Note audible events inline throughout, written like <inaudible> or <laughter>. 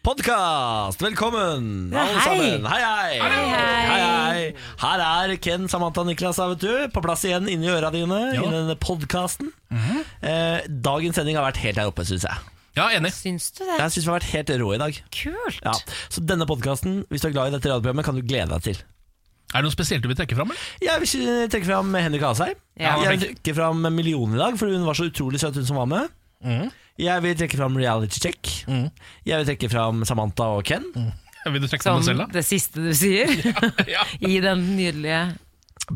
Podkast! Velkommen, Ja, alle hei. sammen. Hei hei. Hei, hei. hei. Her er Ken, Samantha, Niklas, her, vet du. På plass igjen inni øra dine i denne podkasten. Mhm. eh, dagens sending har vært helt der oppe, syns jeg. Ja, enig. Syns du det? Jeg syns vi har vært helt rå i dag. Kult! Ja. Så denne podkasten, hvis du er glad i dette radioprogrammet, kan du glede deg til. Er det noe spesielt du vil trekke fram? eller? Jeg vil ikke trekke fram Henrik Asheim. Ja. Jeg vil trekke fram Million i dag, for hun var så utrolig søt, hun som var med. Mhm. Jeg vil trekke fram Reality Check. Jeg vil trekke fram Samantha og Ken. Vil du trekke fram Som Sånn- den selv, da? det siste du sier <laughs> Ja. <laughs> i den nydelige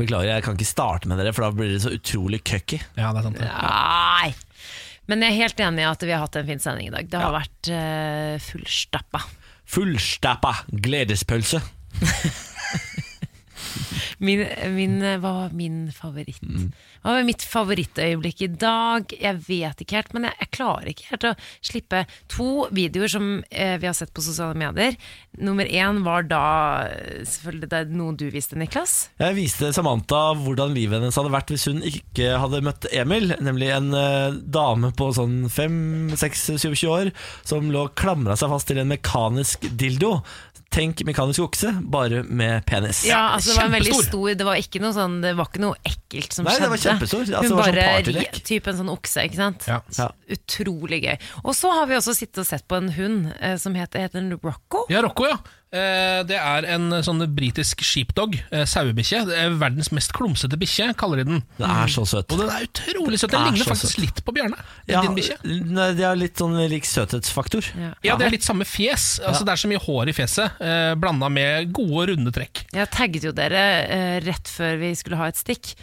Beklager, jeg kan ikke starte med dere, for da blir det så utrolig køkki. Ja, det er sant. det. Nei! Men jeg er helt enig i at vi har hatt en fin sending i dag. Det har vært uh, fullstappa. Fullstappa gledespølse. Min, min, eh, hva var min favoritt? Hva var mitt favorittøyeblikk i dag? Jeg vet ikke helt, men jeg, jeg klarer ikke helt å slippe to videoer som eh, vi har sett på sosiale medier. Nummer én var da eh, selvfølgelig det er noe du viste, Niklas. Jeg viste Samantha hvordan livet hennes hadde vært hvis hun ikke hadde møtt Emil, nemlig en eh, dame på sånn 5-6-27 år som lå og klamra seg fast til en mekanisk dildo. Tenk mekanisk okse, bare med penis. Ja, altså det var en veldig kjempestor. stor Det var ikke noe sånn Det var ikke noe ekkelt som Nei, det skjedde var kjempestor. Altså, det Hun var sånn bare partylek. ri- Typ en sånn okse, ikke sant? Ja. Ja. Utrolig gøy Og så har vi også sittet og sett på en hund eh, Som heter, heter den Rocco Ja, Rocco, ja. Eh, Det er en sånn britisk sheepdog, eh, sauebikkje. Det er Verdens mest klumsete bikkje, kaller de den. Den er så søt. Og den er utrolig søt. Den Den er ligner så faktisk søt. litt på Bjarne. Ja, Din bikkje. nei, de har litt sånn lik søthetsfaktor. ja. Ja, det er litt samme fjes. Altså, det er så mye hår i fjeset, eh, blanda med gode, runde trekk. Jeg tagget jo dere eh, rett før vi skulle ha et stikk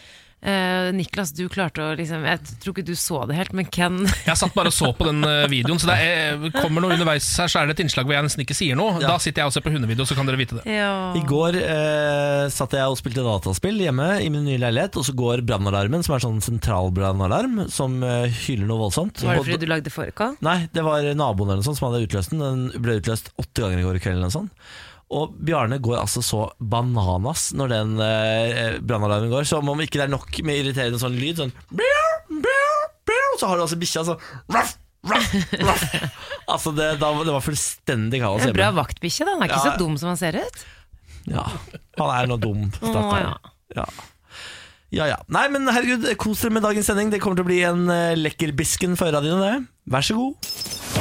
Eh, Niklas, du klarte å liksom Jeg tror ikke du så det helt Men Ken <laughs> Jeg satt bare og så på den eh, videoen, så det er, eh, kommer noe underveis her, så er det et innslag hvor jeg nesten ikke sier noe. Da sitter jeg og ser på hundevideo, så kan dere vite det. ja. I går eh, satt jeg og spilte dataspill hjemme i min nye leilighet, og så går brannalarmen, som er sånn sentralbrannalarm, som eh, hyler noe voldsomt. Var det Og fordi du lagde fårikål? Nei, det var naboen eller noe sånt som hadde utløst den. Den ble utløst åtte ganger i går kveld. eller noe sånt. Og Bjarne går altså så bananas når den eh, brannalarmen går. Som om ikke det er nok med irriterende sånn lyd. Sånn bjau, bjau, bjau, Så har du altså bikkja sånn raff, raff, raff. <laughs> Altså det, da, var- det var fullstendig kaos Det er en bra hjemme. vaktbikkje da, han er ikke Ja. så dum som han ser ut Ja, han er nå dum, Å, stakkar. ja. Ja. ja ja. Nei, men herregud, kos dere med dagens sending. Det kommer til å bli en eh, lekker bisken for øra dine, det. Vær så god.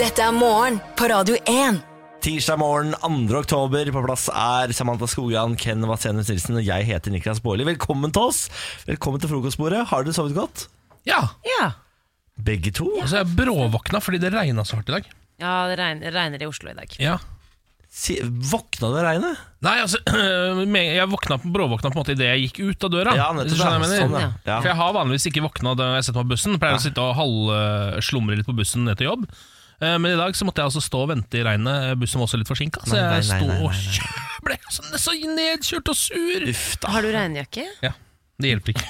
Dette er morgen på Radio 1. Tirsdag morgen 2. oktober. På plass er Samantha Skogran, Ken Vasenus Nilsen og jeg heter Niklas Baarli. Velkommen til oss. Velkommen til frokostbordet. Har dere sovet godt? Ja, Ja, Begge to? og så er Altså, jeg bråvåkna fordi det regna så hardt i dag. ja det regner, regner i Oslo i dag Ja. Si, våkna det regnet? Nei, altså, <clears throat> med- jeg våkna, bråvåkna på en måte idet jeg gikk ut av døra. hvis du skjønner hva jeg mener. Sånn, ja. Ja. For jeg har vanligvis ikke våkna da jeg setter meg på bussen. Pleier å sitte og halvslumre litt på bussen ned til jobb. Eh, Men i dag så måtte jeg altså stå og vente i regnet. Bussen var også litt forsinka, så Nei, nei, nei, jeg sto nei, nei, og kjø- <laughs> ble så- så nedkjørt og sur. Uff da. Har du regnjakke? Ja, det hjelper ikke.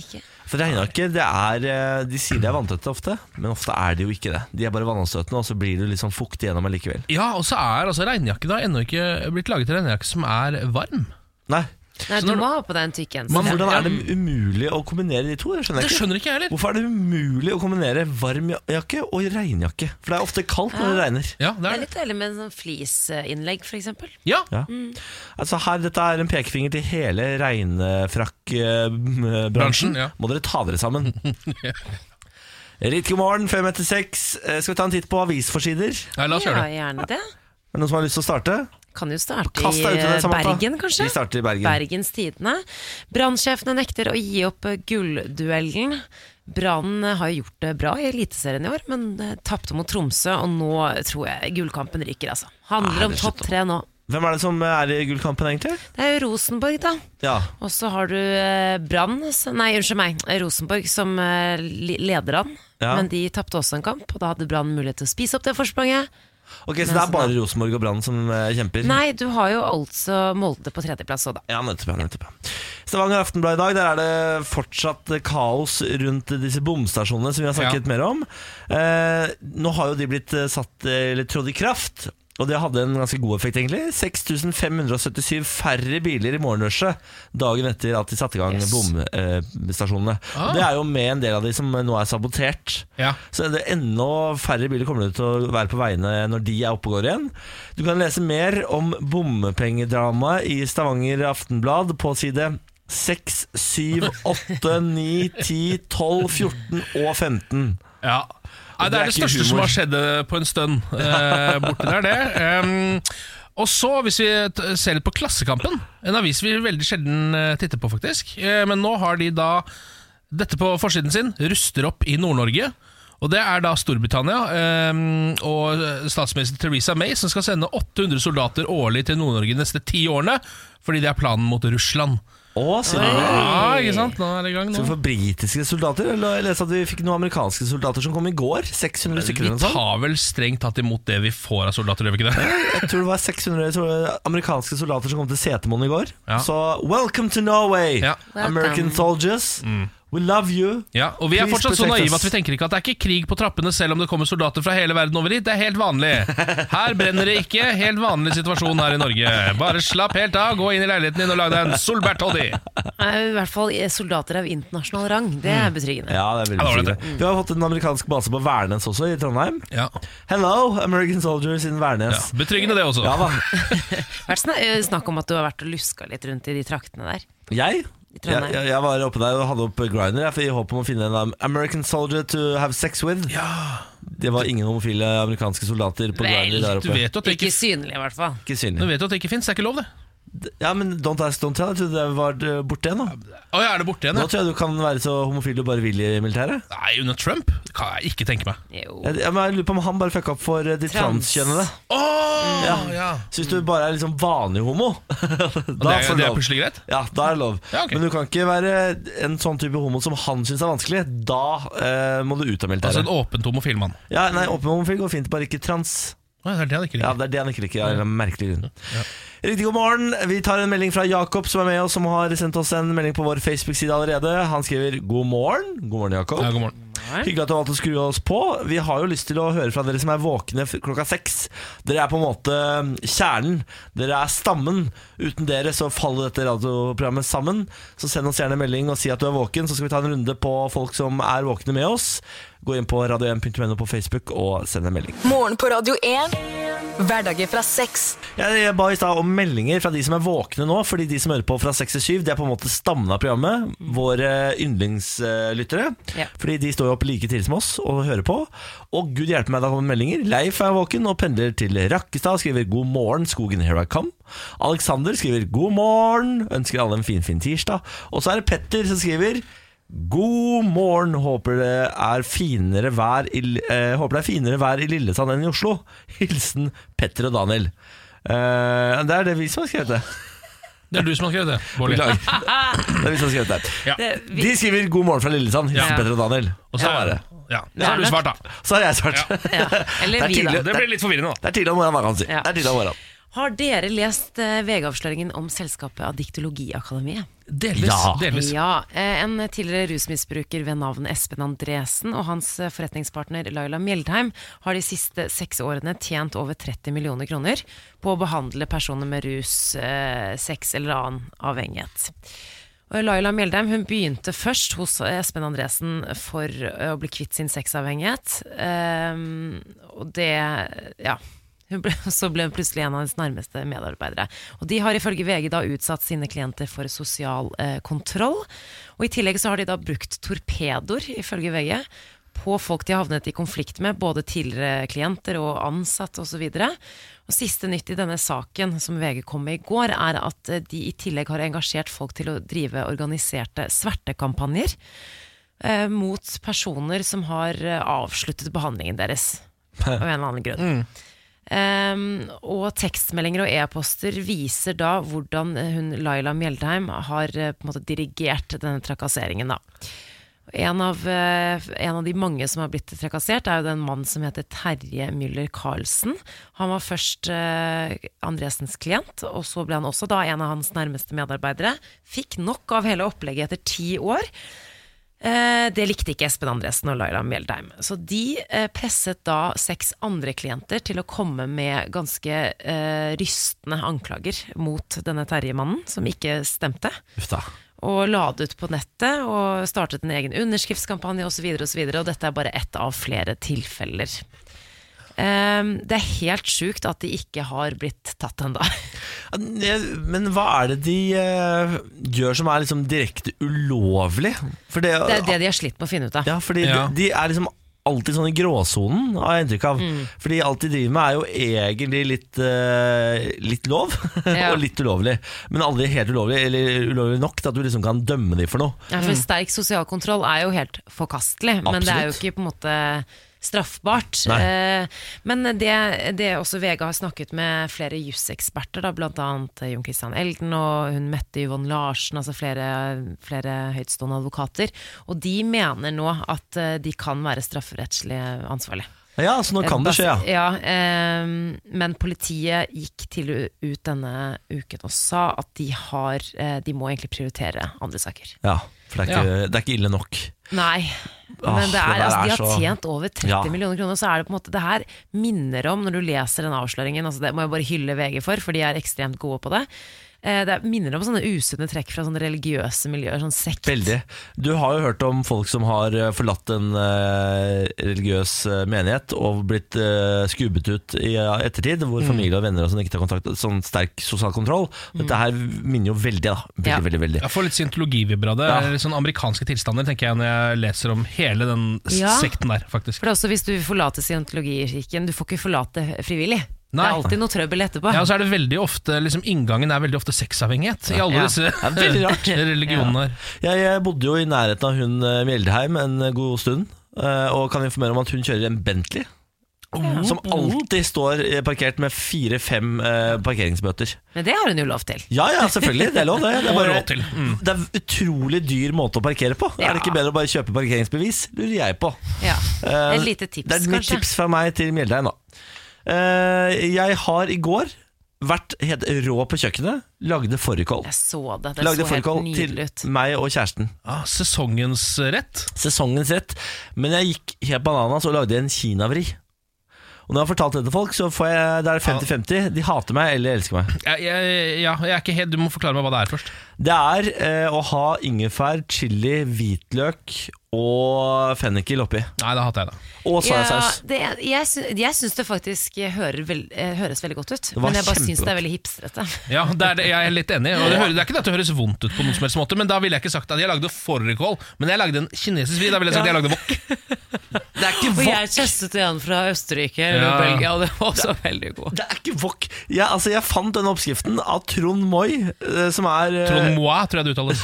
Ikke For det regner ikke. Det er, eh, de sier de er vanntøtte ofte, men ofte er de jo ikke det. De er bare vannavstøtende, og så blir du litt sånn fuktig gjennom allikevel. Ja, og så er altså regnjakke da ennå ikke blitt laget til regnjakke som er varm. Nei. Nei, du må ha på deg en tykk genser. Men hvordan er det umulig å kombinere de to? Jeg skjønner Det ikke. skjønner ikke jeg heller. Hvorfor er det umulig å kombinere varm jakke og regnjakke? For det er ofte kaldt når det regner. Ja, det er Det er det. litt deilig med en sånn flisinnlegg, for eksempel. Ja, Ja. Altså her, Dette er en pekefinger til hele regnefrakkbransjen. Bransjen, ja. Må dere ta dere sammen. Riktig god morgen, fem etter seks. Eh, Skal vi ta en titt på avisforsider? Er Nei, la oss ja, gjøre det. gjerne det. det noen som har lyst til å starte? Kan jo starte Kast i deg ut i det, eh, Samantha. Bergen, kanskje? Vi starter i Bergen. Bergens Tidende. Brannsjefene nekter å gi opp eh, gullduellen. Brann eh, har gjort det bra i Eliteserien i år, men eh, tapte mot Tromsø, og nå tror jeg gullkampen ryker, altså. Nei, Handler om det er topp tre nå. Hvem er det som er i gullkampen, egentlig? Det er jo Rosenborg, da. Ja, Og så har du eh, Brann som- Nei, unnskyld meg. eh, Rosenborg som eh, li- leder an. Ja. Men de tapte også en kamp, og da hadde Brann mulighet til å spise opp det forspranget. Ok, Så det er bare Rosenborg og Brann som eh, kjemper? Nei, du har jo altså Molde på tredjeplass òg, da. Ja, nettopp, ja, nettopp. ja. Stavanger Aftenblad i dag, der er det fortsatt kaos rundt disse bomstasjonene som vi har snakket mer om. Eh, nå har jo de blitt eh, satt, eh, eller trådt i kraft, og det hadde en ganske god effekt egentlig. 6577 færre biler i morgenrushet dagen etter at de satte i gang Yes. bomstasjonene. Ah. Og det er jo med en del av de som eh, nå er sabotert. Ja. Så er det enda færre biler kommer det til å være på veiene når de er oppe og går igjen. Du kan lese mer om bompengedramaet i Stavanger Aftenblad på side 6, 7, 8, 9, 10, 12, 14 og 15. Ja. Nei, det er det er det ikke største som humor. har skjedd eh, på en stund eh, borti der, det. Em, og så, hvis vi t- ser litt på Klassekampen, en avis vi veldig sjelden eh, titter på, faktisk. Eh, men nå har de da dette på forsiden sin, ruster opp i Nord-Norge. Og det er da Storbritannia em, og eh, statsminister Theresa May som skal sende 800 soldater årlig til Nord-Norge de neste ti årene, fordi det er planen mot Russland. Å, sier du det? Ja, ikke sant? Nå er det i gang Skal vi nå. få britiske soldater? Eller jeg leste at vi fikk noen amerikanske soldater som kom i går. 600 stykker Vi eller noe sånt. tar vel strengt tatt imot det vi får av soldater, gjør vi ikke det? <laughs> Jeg tror det var 600 sol- amerikanske soldater som kom til Setermoen i går. Ja. Så welcome to Norway, Ja. Mm. American Welcome. soldiers. We love you. Ja, og Vi er Please fortsatt så protect us. naive at vi tenker ikke at det er ikke krig på trappene selv om det kommer soldater fra hele verden over hit. Det er helt vanlig. Her brenner det ikke. Helt vanlig situasjon her i Norge. Bare slapp helt av, gå inn i leiligheten din og lag deg en solbærtoddy. I hvert fall eh, soldater av internasjonal rang. Det er betryggende. Ja, det er veldig Ja, det var sikkert. Vi har fått en amerikansk base på Værnes også, i Trondheim. Ja. Hello, American soldiers in ja, Værnes. Betryggende, det også. Ja, da. Vært sna- eh, snakk om at du har vært og luska litt rundt i de traktene der. Jeg? Jeg, Trondheim. jeg, jeg var oppe der og hadde opp Grindr jeg, for i håp om å finne en um, American soldier to have sex with. Det var ingen homofile amerikanske soldater på Vel, Grindr der Du oppe. vet jo at det Ikke ikke, synlig, i hvert fall. Ikke du synlig. vet jo at det ikke fins. Det er ikke lov, det. Ja, men don't ask, don't tell. Jeg trodde det var eh, borte igjen. da Å, ja, er det borte igjen? Nå Ja? tror jeg du kan være så homofil du bare vil i militæret. Nei, under Trump? Det kan jeg ikke tenke meg. Jo. Jeg, jeg, men jeg lurer på om han bare fucka opp for eh, de Trans. transkjønnede. Å, Ah, ja. Så hvis du bare er liksom vanlig homo, <laughs> da får Det, er, du det er lov. plutselig greit? Ja, da er det lov. Ja, ok. Men du kan ikke være en sånn type homo som han syns er vanskelig. Da eh, må du ut av Altså militæret. en åpent homofil mann. ja, nei, Åpen homofil går fint, bare ikke trans. Å, det er det han ikke Ja, liker. Det er det han ikke liker. Av en eller annen merkelig grunn. Riktig god morgen. Vi tar en melding fra Jakob, som er med oss, som har sendt oss en melding på vår Facebook-side allerede. Han skriver 'God morgen'. God morgen, Jakob. Ja, god morgen. Hyggelig at du har valgt å skru oss på. Vi har jo lyst til å høre fra dere som er våkne f- klokka seks. Dere er på en måte mm, kjernen. Dere er stammen. Uten dere så faller dette radioprogrammet sammen. Så send oss gjerne en melding og si at du er våken, så skal vi ta en runde på folk som er våkne med oss. Gå inn på radio1.no på Facebook og send en melding. Morgen på Radio 1. Hverdager fra seks. Jeg ba i stad om meldinger fra de som er våkne nå, fordi de som hører på fra 6 til 7, det er på en måte stammen av programmet. Våre eh, yndlingslyttere. Ja. Fordi de står jo opp like tidlig som oss og hører på. Og gud hjelpe meg, da kommer meldinger. Leif er våken og pendler til Rakkestad og skriver 'God morgen, skogen here I come'. Alexander skriver 'God morgen', ønsker alle en finfin fin tirsdag. Og så er det Petter som skriver God morgen, håper det er finere vær i, eh, håper det er finere vær i Lillesand enn i Oslo. Hilsen Petter og Daniel. Eh, det er det vi som har skrevet det. Det er du som har skrevet det, Bårli. Beklager. Det er vi som har skrevet det. Ja. Ah, Det- vi- De skriver 'God morgen fra Lillesand'. Hilsen Ja. Petter og Daniel. Og så Sånn er er det. Ja. Så har du svart, da. Så har jeg svart. <laughs> Ja. Eller Det vi, er da. tidlig. Det blir litt forvirrende, Det er da. tidlig om morgenen, hva kan man si. Ja. Det er tidlig om morgenen. Har dere lest eh, VG-avsløringen om selskapet Addiktologiakademiet? Delvis. Ja. delvis. Ja, eh, En tidligere rusmisbruker ved navn Espen Andresen og hans eh, forretningspartner Laila Mjeldheim har de siste seks årene tjent over 30 millioner kroner på å behandle personer med rus, eh, sex eller annen avhengighet. Og Laila Mjeldheim hun begynte først hos eh, Espen Andresen for eh, å bli kvitt sin sexavhengighet. Ehm, og det Ja. Hun ble, <laughs> så ble hun plutselig en av hennes nærmeste medarbeidere. Og De har ifølge VG da utsatt sine klienter for sosial eh, kontroll. Og I tillegg så har de da brukt torpedoer, ifølge VG, på folk de har havnet i konflikt med, både tidligere klienter og ansatte osv. Og siste nytt i denne saken, som VG kom med i går, er at eh, de i tillegg har engasjert folk til å drive organiserte svertekampanjer eh, mot personer som har eh, avsluttet behandlingen deres, av en eller annen grunn. Ehm, og tekstmeldinger og e-poster viser da hvordan eh, hun Laila Mjeldheim har eh, på en måte dirigert denne trakasseringen. da. Og En av, eh, en av de mange som har blitt trakassert, er jo den mannen som heter Terje Müller Karlsen. Han var først eh, Andresens klient, og så ble han også da en av hans nærmeste medarbeidere. Fikk nok av hele opplegget etter ti år. Eh, Det likte ikke Espen Andresen og Laila Mjeldheim. Så de eh, presset da seks andre klienter til å komme med ganske eh, rystende anklager mot denne Terje-mannen, som ikke stemte Uff da. og la det ut på nettet og startet en egen underskriftskampanje osv. Og, så videre, og dette er bare ett av flere tilfeller. Ehm, det er helt sjukt at de ikke har blitt tatt ennå. Men hva er det de eh, gjør som er liksom direkte ulovlig? For det, <laughs> Det er det de har slitt med å finne ut av. Ja, fordi Ja. De, de er liksom alltid sånn i gråsonen, har jeg inntrykk av. Mm. Fordi alt de driver med er jo egentlig litt, eh, litt lov, <laughs> Ja. og litt ulovlig. Men aldri helt ulovlig, eller ulovlig nok til at du liksom kan dømme dem for noe. Ja, for sterk sosial kontroll er jo helt forkastelig, men det er Mm. jo Absolutt. ikke på en måte straffbart. Nei. Eh, men det, det også VG har snakket med flere juseksperter, da, blant annet Jon Christian Elden og hun Mette Yvonne Larsen, altså flere, flere høytstående advokater, og de mener nå at eh, de kan være strafferettslig ansvarlig. Ja, så nå kan det skje, ja. Ja, eh, men politiet gikk til ut denne uken og sa at de, har, eh, de må egentlig prioritere andre saker. ja. For det er, ikke, det er ikke ille nok. Nei, Åh, men Ah, det det er, der altså, de er har så- tjent over 30 Ja. millioner kroner, så er det på en måte Det her minner om, når du leser den avsløringen, altså det må jeg bare hylle VG for, for de er ekstremt gode på det. Eh, Det er- minner om sånne usunne trekk fra sånne religiøse miljøer, sånn sekt. Veldig. Du har jo hørt om folk som har eh, forlatt en eh, religiøs eh, menighet og blitt eh, skubbet ut i eh, ettertid, Mm. hvor familie og venner og sånn ikke tar kontakt. Sånn sterk sosial kontroll. Dette her minner jo veldig, da. Veldig, Ja. veldig, veldig. Jeg får litt scientologivibber av det. eller Sånn amerikanske tilstander, tenker jeg når jeg leser om hele den s- Ja. sekten der, faktisk. For det er også hvis du forlater scientologikirken, du får ikke forlate frivillig. Det Nei. er alltid noe trøbbel etterpå. Ja, og så er det veldig ofte, liksom Inngangen er veldig ofte sexavhengighet i alle Ja. disse veldig rart. <laughs> religionene. her Jeg, jeg bodde jo i nærheten av hun eh, Mjeldheim en god stund, eh, og kan informere om at hun kjører en Bentley. Som alltid står eh, parkert med fire-fem eh, parkeringsbøter. Men det har hun jo lov til. Ja ja, selvfølgelig. Det er lov, det. Det er, Og bare, råd til. Mm. det er utrolig dyr måte å parkere på. Er det Ja. ikke bedre å bare kjøpe parkeringsbevis? Lurer jeg på. Ja. Eh, Et lite tips, det er mitt kanskje. tips fra meg til Mjeldheim, da. Eh, jeg har i går vært helt rå på kjøkkenet. Lagde fårikål. Jeg så det. Det Lagde så helt fårikål til nydelig ut. meg og kjæresten. Ah, sesongens rett. sesongens rett, men jeg gikk helt bananas og lagde en kinavri. Og når jeg har fortalt det til folk, så får jeg, det er 50-50. De hater meg eller elsker meg. Jeg, jeg, ja, jeg er ikke helt, Du må forklare meg hva det er først. Det er eh, å ha ingefær, chili, hvitløk og fennikel oppi. Nei, det hater jeg, da. Og Ja, soyasaus. det, jeg sy- jeg syns det faktisk hører vel, eh, høres veldig godt ut, var men jeg bare syns det er kjempegodt. veldig hipstrete. Ja, det er, det- Jeg er litt enig. Og det, hører, det er ikke det at det høres vondt ut, på noen som helst måte men da ville jeg ikke sagt at jeg lagde fårikål, men jeg lagde en kinesisk vri. Da ville jeg sagt at jeg lagde wok. Det er ikke <laughs> Og wok! jeg testet en fra Østerrike eller Ja. Belgia, og det var også veldig god. Det er ikke wok. Jeg, altså, jeg fant denne oppskriften av Trond Moi, eh, som er eh, Trond Moi, tror jeg det uttales.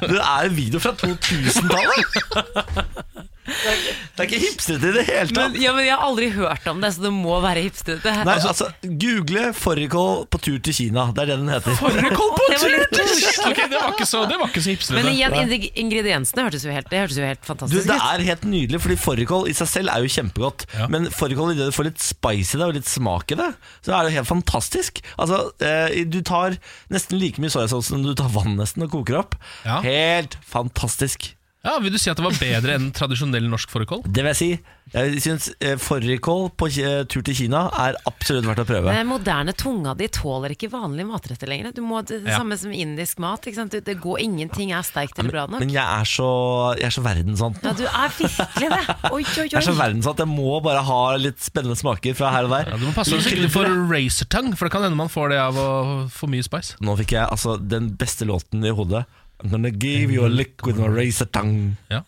Det er en video fra 2000-tallet! det, er ikke- det er ikke hipstrete i det hele tatt. Men, ja, men jeg har aldri hørt om det, så det må være hipstrete. Nei, altså, Google fårikål på tur til Kina. Det er det den heter. Fårikål Det var litt koselig. Ok, Det var ikke så, det var ikke så hipstrete. Men igjen, ing- ingrediensene hørtes jo helt, det hørtes jo helt Du, fantastisk det ut. er helt nydelig, fordi fårikål i seg selv er jo kjempegodt. Ja. Men fårikål i det du får litt spice i det og litt smak i det, så er det helt fantastisk. Altså, eh, Du tar nesten like mye soyasaus som du tar vann nesten og koker opp. Ja. Helt fantastisk. Ja, Vil du si at det var bedre enn tradisjonell norsk fårikål? Det vil jeg si. Jeg syns eh, fårikål på ki- eh, tur til Kina er absolutt verdt å prøve. Den moderne tunga di tåler ikke vanlige matretter lenger. Du må Det, det Ja. samme som indisk mat. Ikke sant? Du- Det går Ingenting er sterkt eller bra nok. Men jeg er så, jeg er så verdensant. Ja, du er virkelig det. Oi, oi, Jeg er så oi. verdensant. Jeg må bare ha litt spennende smaker fra her og der. Ja, du må passe deg så ikke du får razortang, for det kan hende man får det av å få mye spice. Nå fikk jeg altså den beste låten i hodet. I'm gonna give you a lick with my razor tongue. Ja.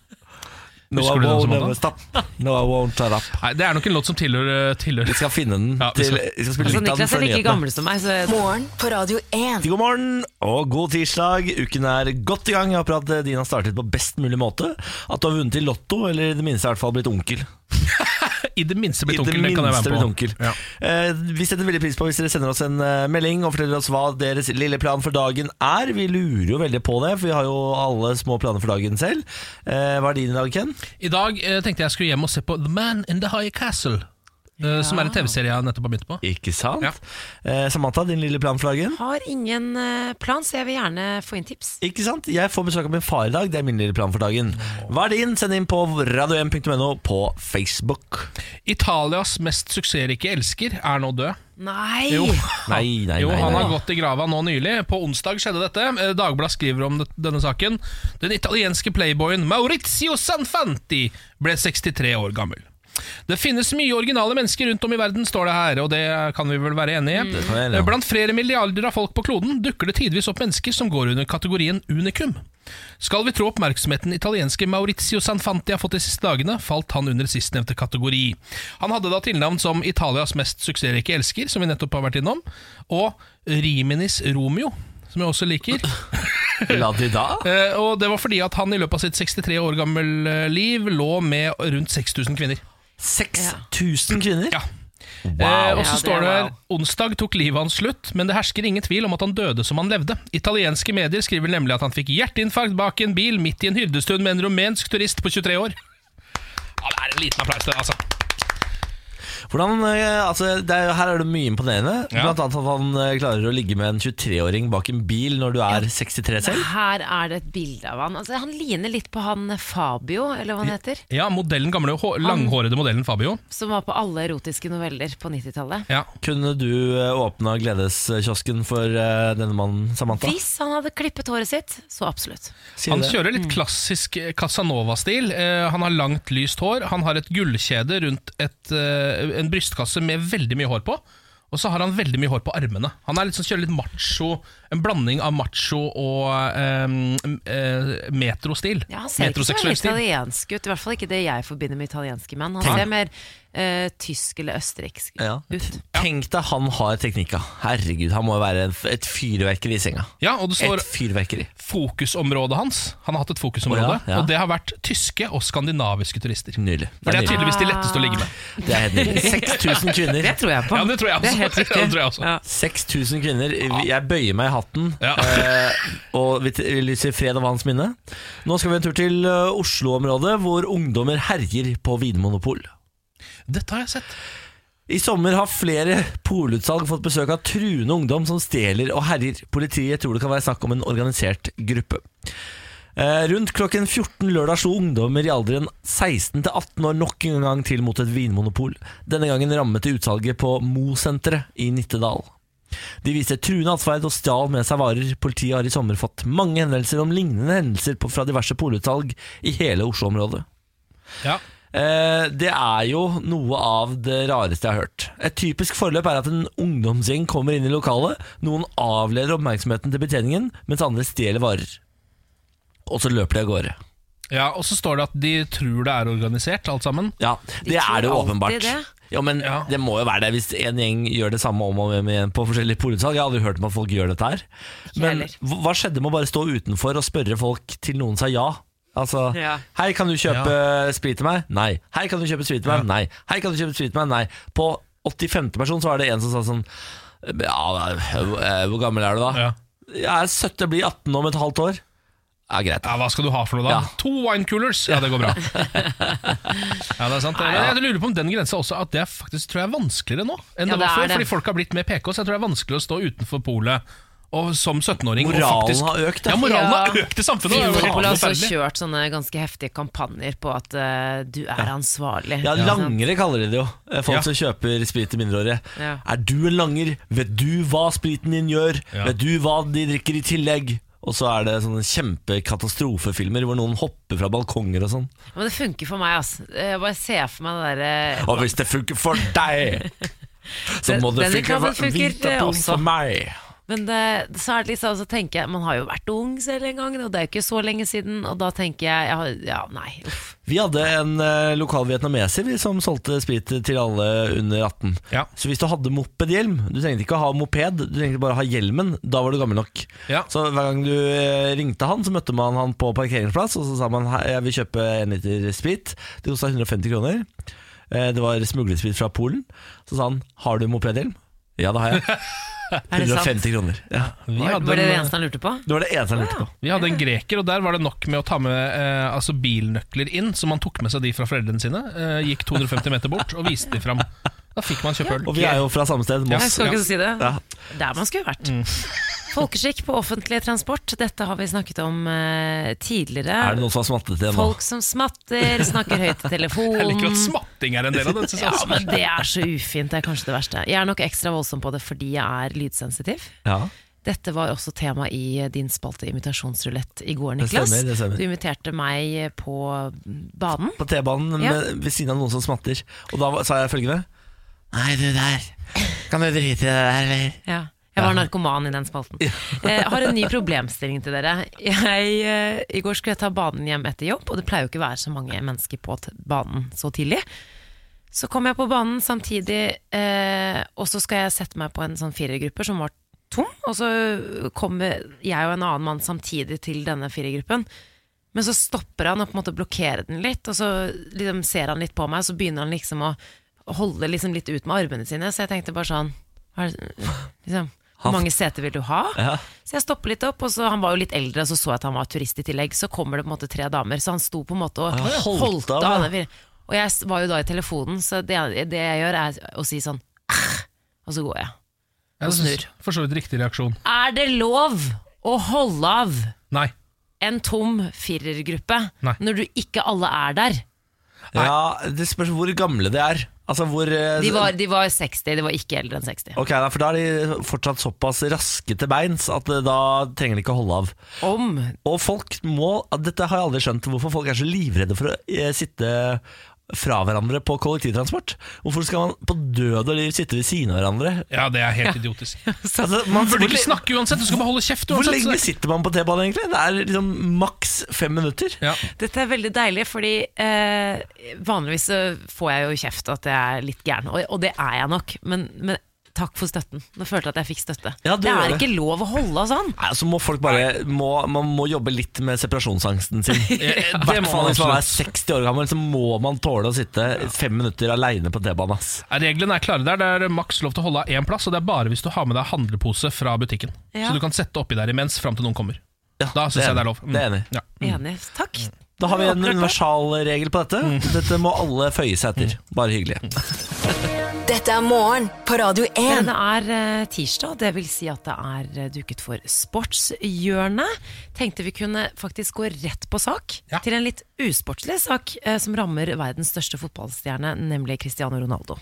No, Husker I du den won't som var da? never stop. No, I won't shut up. Nei, Det er nok en låt som tilhører, Vi tilhører. skal finne den. Ja, vi til, skal- vi skal spille Altså, litt av den Niklas er før like nyhetene. gammel som meg, så Morgen på Radio 1. God morgen og god tirsdag. Uken er godt i gang. Jeg håper at din har startet på best mulig måte. At du har vunnet i Lotto, eller i det minste i hvert fall blitt onkel. i det minste blitt I det onkel. Det kan minste jeg være blitt med på. onkel. Ja. Eh, vi setter veldig pris på hvis dere sender oss en eh, melding og forteller oss hva deres lille plan for dagen er. Vi lurer jo veldig på det, for vi har jo alle små planer for dagen selv. Eh, hva er din i dag, Ken? I dag eh, tenkte jeg skulle hjem og se på The Man in the High Castle, eh, som er en TV-serie jeg nettopp har begynt på. Ikke sant? Ja. Eh, Samantha, din lille plan for dagen? Har ingen eh, plan, så jeg vil gjerne få inn tips. Ikke sant? Jeg får besøk av min far i dag. Det er min lille plan for dagen. Hva er din? Send inn på radio1.no på Facebook. Italias mest suksessrike elsker er nå død. Nei! Jo, Nei, nei, jo nei, han nei. har gått i grava nå nylig. På onsdag skjedde dette. Eh, Dagbladet skriver om det- denne saken. Den italienske playboyen Maurizio Sanfanti ble 63 år gammel. Det finnes mye originale mennesker rundt om i verden, står det her, og det kan vi vel være enige Det i. Eh, kan jeg gjøre, ja. Blant flere milliarder av folk på kloden dukker det tidvis opp mennesker som går under kategorien unikum. Skal vi trå oppmerksomheten italienske Maurizio Sanfanti har fått de siste dagene, falt han under sistnevnte kategori. Han hadde da tilnavn som Italias mest suksessrike elsker, som vi nettopp har vært innom, og Riminis Romeo, som jeg også liker. La de da? Eh, og det var fordi at han i løpet av sitt 63 år gammel eh, liv lå med rundt 6000 kvinner. 6000 kvinner? Ja. Eh, Wow. og så Ja, står det det er her wow. Onsdag tok livet hans slutt, men det hersker ingen tvil om at han døde som han levde. Italienske medier skriver nemlig at han fikk hjerteinfarkt bak en bil midt i en hyrdestund med en rumensk turist på 23 år. Ja, det er en liten applaus til det, altså. Hvordan, eh, altså, det er, her er det mye imponerende. Ja. Blant annet at han eh, klarer å ligge med en 23-åring bak en bil når du er 63 selv. Her er det et bilde av han. Altså, han ligner litt på han eh, Fabio, eller hva han heter. Ja, modellen, gamle hå- langhårede modellen Fabio. Som var på alle erotiske noveller på 90-tallet. Ja. Kunne du eh, åpna gledeskiosken for eh, denne mannen, Samantha? Hvis han hadde klippet håret sitt, så absolutt. Si Han det. Mm. kjører litt klassisk eh, Casanova-stil. Eh, han har langt, lyst hår. Han har et gullkjede rundt et, eh, en brystkasse med veldig mye hår på. Og så har han veldig mye hår på armene. Han er litt sånn, kjører litt macho, en blanding av macho og eh, eh, metrostil. Ja, han ser ikke så Metroseksuell veldig italiensk ut. I hvert fall ikke det jeg forbinder med italienske menn. Han Tenk- ser mer eh, tysk eller østerriksk Ja. ut. Tenk deg han har teknikka. Herregud, han må jo være en f- et fyrverkeri i senga. Ja, og det Et står fyrverkeri. fokusområdet hans. Han har hatt et fokusområde, Å, ja, ja. og det har vært tyske og skandinaviske turister. Nydelig. For det er nydelig. tydeligvis de letteste å ligge med. Det er helt nydelig. 6000 kvinner. Det tror jeg <laughs> på. Ja, det tror jeg også. Det er helt riktig. Det tror jeg også. Ja. 6000 kvinner. Jeg bøyer meg i hatten Ja. <laughs> eh, og vi t- vi lyser fred over hans minne. Nå skal vi en tur til eh, Oslo-området, hvor ungdommer herjer på vinmonopol. Dette har jeg sett. I sommer har flere polutsalg fått besøk av truende ungdom som stjeler og herjer. Politiet tror det kan være snakk om en organisert gruppe. Eh, Rundt klokken 14 lørdag slo ungdommer i alderen 16 til 18 år nok en gang til mot et vinmonopol. Denne gangen rammet det utsalget på Mo-senteret i Nittedal. De viste truende atferd og stjal med seg varer. Politiet har i sommer fått mange henvendelser om lignende hendelser på- fra diverse polutsalg i hele Oslo-området. Ja. Eh, Det er jo noe av det rareste jeg har hørt. Et typisk forløp er at en ungdomsgjeng kommer inn i lokalet. Noen avleder oppmerksomheten til betjeningen, mens andre stjeler varer. Og så løper de av gårde. Ja, Og så står det at de tror det er organisert, alt sammen. Ja, det tror er det jo alltid åpenbart. det. Ja, men Ja. Det må jo være det hvis en gjeng gjør det samme om og om igjen på forskjellige polutsalg. Jeg har aldri hørt om at folk gjør dette her. Men heller. hva hva skjedde med å bare stå utenfor og spørre folk til noen sa ja? Altså Ja. Hei, kan du kjøpe sprit til meg? Nei. Hei, kan du kjøpe sprit til meg? Nei. Hei, kan du kjøpe sprit til meg? Nei. På 85. person så var det en som sa sånn Ja, eh, hvor gammel er du da? Ja. Jeg er 70, blir 18 om et halvt år. Ja, greit. Ja, Hva skal du ha for noe, da? Ja. To winecoolers! Ja, det går bra. <laughs> ja, det er sant. Jeg lurer på om den grensa også At det er faktisk tror jeg er vanskeligere nå enn Ja, det var det er før. det. Fordi folk har blitt mer PK, så jeg tror det er vanskeligere å stå utenfor polet og som 17-åring. og Moralen faktisk- har økt, da. Ja, moralen Ja. har økt i samfunnet! Det er jo helt Vinmonopolet har altså, også forferdelig. kjørt sånne ganske heftige kampanjer på at eh, du er ansvarlig. Ja, Ikke sant? langere kaller de det jo. Eh, Folk Ja. som kjøper sprit til mindreårige. Ja. Er du en langer? Vet du hva spriten din gjør? Ja. Vet du hva de drikker i tillegg? Og så er det sånne kjempekatastrofefilmer hvor noen hopper fra balkonger og sånn. Men det funker for meg, altså. Jeg bare ser for meg det eh, derre Og hvis det funker for deg, <laughs> så må det Den funke reklamen for, funker, Vita eh, Pong også. for meg. Men det, så er det liksom, så tenker jeg Man har jo vært ung selv en gang, og det er jo ikke så lenge siden. Og da tenker jeg Ja, ja nei, uff. Vi hadde en eh, lokal vietnameser vi, som solgte sprit til alle under 18. Ja. Så hvis du hadde mopedhjelm, du trengte ikke å ha moped, du trengte bare å ha hjelmen, da var du gammel nok. Ja. Så hver gang du eh, ringte han, så møtte man han på parkeringsplass, og så sa man «Hei, jeg vil kjøpe en liter sprit. Det kosta 150 kroner. Eh, Det var smuglersprit fra Polen. Så sa han 'Har du mopedhjelm?' Ja, det har jeg. Er det sant? 150 kroner. Ja. Vi Var, hadde var det det en- eneste han lurte på? Det var det eneste han lurte på. Vi hadde en greker, og der var det nok med å ta med eh, altså bilnøkler inn, så man tok med seg de fra foreldrene sine, eh, gikk 250 meter bort og viste de fram. Da fikk man kjøpe øl. Og vi er jo fra samme sted, Jeg Moss. skal ikke si det. Ja. Mm. Der man skulle vært. Folkeskikk på offentlig transport, dette har vi snakket om eh, tidligere. Er det noen som har smattet til det nå? Folk som smatter, snakker høyt i <laughs> telefonen. Jeg liker at smatting er en del av det. synes jeg Ja, altså. også. men det er så ufint, det er kanskje det verste. Jeg er nok ekstra voldsom på det fordi jeg er lydsensitiv. Ja. Dette var også tema i din spalte imitasjonsrulett i går, Det Niklas. stemmer, det stemmer. Du imiterte meg på banen. På T-banen Ja. med- ved siden av noen som smatter. Og da var- sa jeg følgende Nei, du der. Kan du drite i det der, eller? Ja. Jeg var narkoman i den spalten. <laughs> Jeg har en ny problemstilling til dere. Jeg, eh, I går skulle jeg ta banen hjem etter jobb, og det pleier jo ikke å være så mange mennesker på t banen så tidlig. Så kom jeg på banen samtidig, eh, og så skal jeg sette meg på en sånn firergruppe som var tom. Og så kommer jeg og en annen mann samtidig til denne firergruppen. Men så stopper han og på en måte blokkerer den litt, og så liksom ser han litt på meg, og så begynner han liksom å holde liksom litt ut med armene sine. Så jeg tenkte bare sånn hva er det- liksom, Hvor mange seter vil du ha? Ja. Så jeg stopper litt opp, og så han var jo litt eldre, og så så jeg at han var turist i tillegg. Så kommer det på en måte tre damer, så han sto på en måte og ja, holdt, holdt av, av. ja. alle fire. Og jeg s- var jo da i telefonen, så det, det jeg gjør er å si sånn «Ah», Og så går jeg. Jeg synes, for så vidt riktig reaksjon. Er det lov å holde av Nei. en tom firergruppe Nei. når du ikke alle er der? Ja, det spørs hvor gamle de er. Altså hvor eh, De var, de var 60, de var ikke eldre enn 60. Ok, da, for da er de fortsatt såpass raske til beins at eh, da trenger de ikke å holde av. Om Og folk må Dette har jeg aldri skjønt, hvorfor folk er så livredde for å eh, sitte fra hverandre på kollektivtransport. Hvorfor skal man på død og liv sitte ved siden av hverandre? Ja, det er helt <laughs> idiotisk. Altså, man Du burde hvor- ikke snakke uansett, du skal bare holde kjeft Hvor uansett. lenge så det- sitter man på T-banen egentlig? Det er liksom maks fem minutter. Ja. Dette er veldig deilig, fordi eh, vanligvis så får jeg jo kjeft at jeg er litt gæren, og, og det er jeg nok, men, men takk for støtten. Nå følte jeg at jeg fikk støtte. Ja, du det gjør er det. ikke lov å holde av sånn. Nei, så må folk bare må, Man må jobbe litt med separasjonsangsten <laughs> sin. I Eh, Det hvert må fall man hvis man er absolutt. 60 år gammel, så må man tåle å sitte fem minutter aleine på T-banen. ass. Ja, Reglene er klare der. Det er maks lov til å holde av én plass, og det er bare hvis du har med deg handlepose fra butikken. Ja. Så du kan sette oppi der imens fram til noen kommer. Ja, Da syns jeg det er lov. Mm. Det er enig. Ja. Enig. Takk. Da har vi en Akkurat det. universalregel på dette. Mm. Dette må alle føye seg etter. Bare hyggelig. Dette er morgen på Radio Dere, 1. Det er eh, tirsdag, det vil si at det er eh, duket for sportshjørnet. Tenkte vi kunne faktisk gå rett på sak, Ja. til en litt usportslig sak eh, som rammer verdens største fotballstjerne, nemlig Cristiano Ronaldo.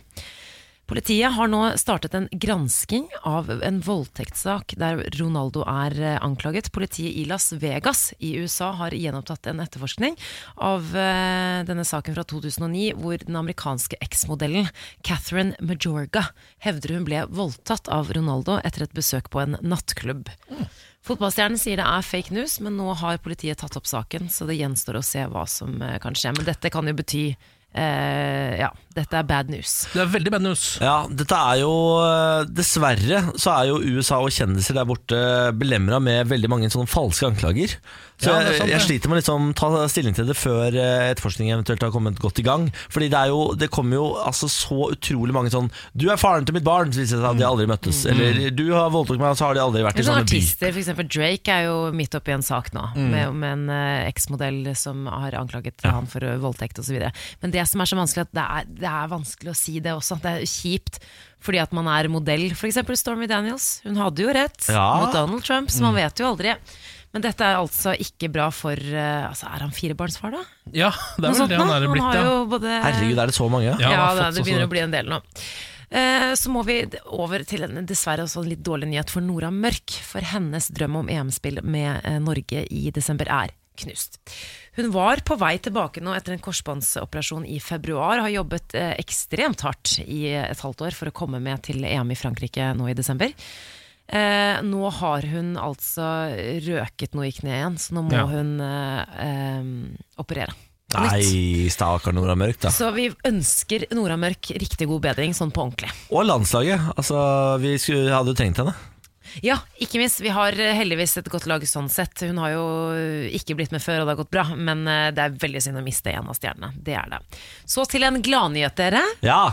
Politiet har nå startet en gransking av en voldtektssak der Ronaldo er eh, anklaget. Politiet i Las Vegas i USA har gjenopptatt en etterforskning av eh, denne saken fra 2009, hvor den amerikanske eksmodellen Catherine Majorga hevder hun ble voldtatt av Ronaldo etter et besøk på en nattklubb. Fotballstjernen sier det er fake news, men nå har politiet tatt opp saken, så det gjenstår å se hva som eh, kan skje. Men dette kan jo bety eh, Ja, dette er bad news. Det er veldig bad news. Ja, dette er jo eh, Dessverre så er jo USA og kjendiser der borte belemra med veldig mange sånne falske anklager. Så Ja, det er jeg, sant, jeg det. sliter med å liksom ta stilling til det før eh, etterforskningen eventuelt har kommet godt i gang. Fordi det, er jo, det kommer jo altså så utrolig mange sånn 'Du er faren til mitt barn', så viser det seg Mm. at de aldri møttes. Eller 'Du har voldtatt meg', og så har de aldri vært i Men sånne samme by. artister, for eksempel Drake er jo midt oppi en sak nå, Mm. med, med en eh, eksmodell som har anklaget han for eh, voldtekt osv. Men det som er så vanskelig, at det er, det er vanskelig å si det også. at Det er kjipt fordi at man er modell. For eksempel Stormy Daniels. Hun hadde jo rett Ja. Mm. mot Donald Trump, så man vet jo aldri. Men dette er altså ikke bra for eh, altså Er han firebarnsfar, da? Ja, det er Noe vel sånn, sånt det han nå? er blitt, har ja. jo både Herregud, er det så mange? Ja, ja, han har det, fått det sånn begynner sånn. å bli en del nå. Eh, Så må vi d- over til en dessverre også en litt dårlig nyhet for Nora Mørk. For hennes drøm om EM-spill med eh, Norge i desember er knust. Hun var på vei tilbake nå etter en korsbåndsoperasjon i februar. Har jobbet eh, ekstremt hardt i et halvt år for å komme med til EM i Frankrike nå i desember. Eh, nå har hun altså røket noe i kneet igjen, så nå må Ja. hun eh, eh, operere. på nytt. Nei, stakkar Nora Mørk, da. Så vi ønsker Nora Mørk riktig god bedring, sånn på ordentlig. Og landslaget. Altså, vi skulle, hadde jo trengt henne. Ja, ikke minst. Vi har eh, heldigvis et godt lag sånn sett. Hun har jo eh, ikke blitt med før, og det har gått bra. Men eh, det er veldig synd å miste en av stjernene. Det er det. Så til en gladnyhet, dere. Ja!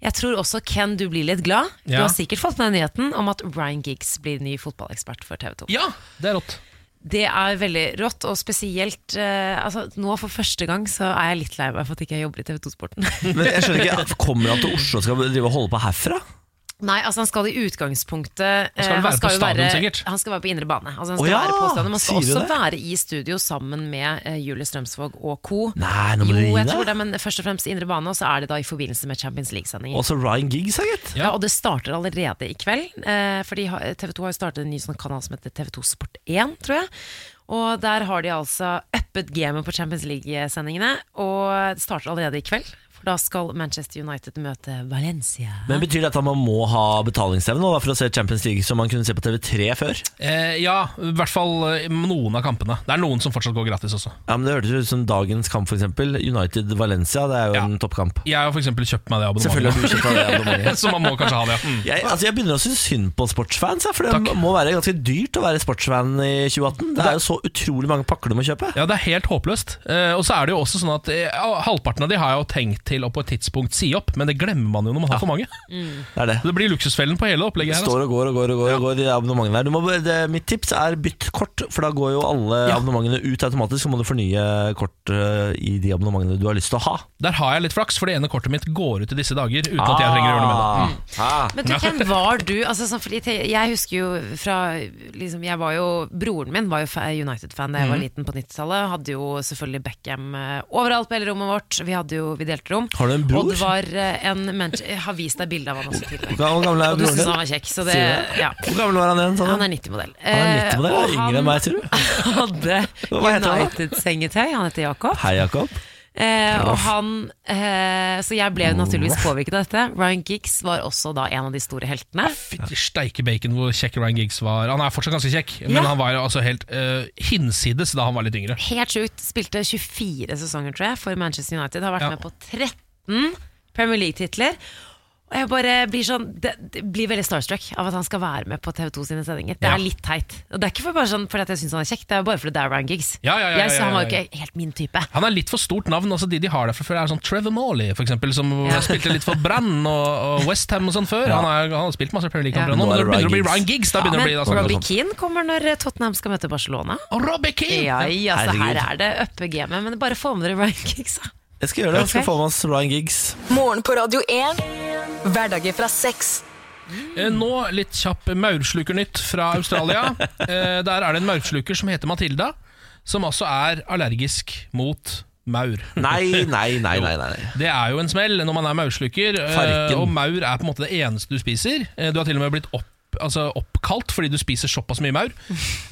Jeg tror også Ken du blir litt glad. Du Ja. har sikkert fått med nyheten om at Ryan Giggs blir ny fotballekspert for TV 2. Ja, det er rått. Det er veldig rått, og spesielt eh, altså, Nå for første gang så er jeg litt lei meg for at ikke jeg jobber i TV 2-sporten. <laughs> Men jeg skjønner ikke, Kommer han til Oslo og skal drive og holde på herfra? Nei, altså han skal i utgangspunktet eh, skal vel være på jo stadion, være- sikkert. Han skal være på indre bane. Altså, han Å skal ja, være på stadion, men han skal sier du også det? være i studio sammen med eh, Julie Strømsvåg og co. Nei, nå må Jo, du gi jeg tror deg. det, men først og fremst indre bane, og så er det da i forbindelse med Champions League-sendinger. Også Ryan Giggs, her, gitt. Ja, og det starter allerede i kveld. Eh, fordi TV 2 har jo startet en ny sånn kanal som heter TV 2 Sport 1, tror jeg. Og der har de altså uppet gamet på Champions League-sendingene. Og det starter allerede i kveld. For da skal Manchester United møte Valencia. Men Betyr det at man må ha betalingsevne nå, da, for å se Champions League som man kunne se på TV3 før? Eh, ja, i hvert fall eh, noen av kampene. Det er noen som fortsatt går gratis også. Ja, men Det hørtes ut som dagens kamp, f.eks. United-Valencia. Det er jo Ja. en toppkamp. Jeg har for eksempel kjøpt meg det Selvfølgelig har abonnementet. du kjøpt <laughs> av det <laughs> abonnementet. Så man må kanskje ha det. ja. Mm. Jeg, altså jeg begynner å synes synd på sportsfans, jeg, for det må være ganske dyrt å være sportsfan i 2018. Det er jo så utrolig mange pakker du må kjøpe. Ja, det er helt håpløst. Eh, og så er det jo også sånn at eh, halvparten av de har jeg jo tenkt til å på et tidspunkt si opp, men det glemmer man jo når man har for mange. Det er det. Så det blir luksusfellen på hele opplegget her. Altså. Står og går og går og går, og går de abonnementene der. Du må, bare- det, mitt tips er bytt kort, for da går jo alle abonnementene ut automatisk. Så må du fornye kort eh, i de abonnementene du har lyst til å ha. Der har jeg litt flaks, for det ene kortet mitt går ut i disse dager uten at jeg trenger å gjøre noe med det. Mm. Ah. Men du, hvem var du? Altså, sånn, fordi te- jeg husker jo fra liksom, jeg var jo, Broren min var jo fa- United-fan da jeg Mhm. var liten på 90-tallet. Hadde jo selvfølgelig Beckham eh, overalt på hele rommet vårt. Vi, hadde jo, vi delte rom. Har du en bror? Og det var eh, en mensch... Jeg har vist deg bilde av han også <laughs> tidligere. Hvor gammel er Og du broren syns din? han var kjekk, så det Sier ja. Hvor gammel var han igjen? Sånn? Han er 90-modell. Han er 90 med Eh, deg, og yngre enn meg, tror du. Han <laughs> hadde Hva heter han da? United-sengetøy. Han heter Jakob. Hei, Jakob. Eh, og han, eh, så jeg ble jo naturligvis påvirket av dette. Ryan Giggs var også da en av de store heltene. Fytti steike bacon hvor kjekk Ryan Giggs var. Han er fortsatt ganske kjekk, men Ja. han var jo altså helt eh, hinsides da han var litt yngre. Helt sjukt. Spilte 24 sesonger, tror jeg, for Manchester United. Har vært Ja. med på 13 Premier League-titler. Og jeg bare blir sånn det, det blir veldig starstruck av at han skal være med på TV2 sine sendinger. Det Ja. er litt teit. Og det er ikke for bare sånn fordi at jeg syns han er kjekk, det er bare fordi det er Ryan Giggs. Ja, ja, ja, Jeg- ja, så ja, han var jo ja. ikke helt min type. Han er litt for stort navn. altså De de har der fra før, er sånn Trevor Morley, for eksempel, som Ja. spilte litt for Brann og, og Westham og sånn før. Han, er, han har spilt masse Premier League-kamper Ja. Nå nå, men er når det det begynner å bli Ryan Ryan Giggs, da sånn? begynner Men det å bli da, Robbie Keane kommer sånn? når Tottenham skal møte Barcelona. Og Robbie Keane! Ja, ja, så her Herregud. er det uppe gamet, men bare få med dere Ryan Giggs, da. Jeg skal gjøre det. Jeg skal Ok. få med oss Ryan Giggs. Morgen på Radio 1. Hverdager fra seks. Eh, Nå litt kjapp maurslukernytt fra Australia. Eh, Der er det en maursluker som heter Matilda, som altså er allergisk mot maur. Nei, nei, nei, nei, nei. Det er jo en smell når man er maursluker, eh, Farken. og maur er på en måte det eneste du spiser. Eh, Du har til og med blitt opp, altså oppkalt fordi du spiser såpass mye <laughs> maur.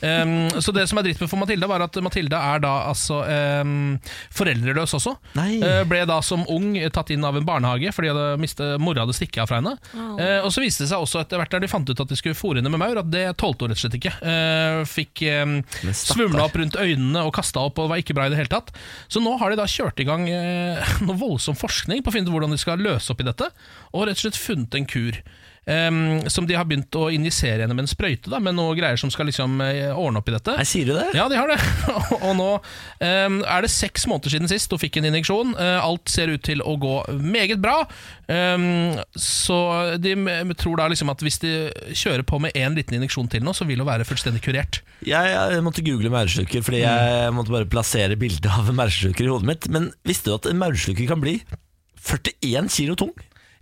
Em, så det som er dritt med for Matilda, var at Matilda er da altså em, foreldreløs også. Nei. Eh, ble da som ung tatt inn av en barnehage fordi hadde mistet, mora hadde stikket av fra henne. Eh, og så viste det seg også etter hvert der de fant ut at de skulle fôre henne med maur, at det tålte hun rett og slett ikke. Eh, fikk um, Men stakkar. svulma opp rundt øynene og kasta opp, og det var ikke bra i det hele tatt. Så nå har de da kjørt i gang eh, <laughs> noe voldsom forskning på å finne ut hvordan de skal løse opp i dette, og rett og slett funnet en kur. em, som de har begynt å injisere henne med en sprøyte, da, med noe greier som skal liksom eh, ordne opp i dette. Nei, sier du det? Ja, de har det. <laughs> Og- Og nå ehm, er det seks måneder siden sist hun fikk en injeksjon. Eh, alt ser ut til å gå meget bra. Ehm, så de m- tror da liksom at hvis de kjører på med én liten injeksjon til nå, så vil hun være fullstendig kurert. Jeg, jeg måtte google maursluker, fordi jeg Mm. måtte bare plassere bildet av en maursluker i hodet mitt. Men visste du at en maursluker kan bli 41 kilo tung?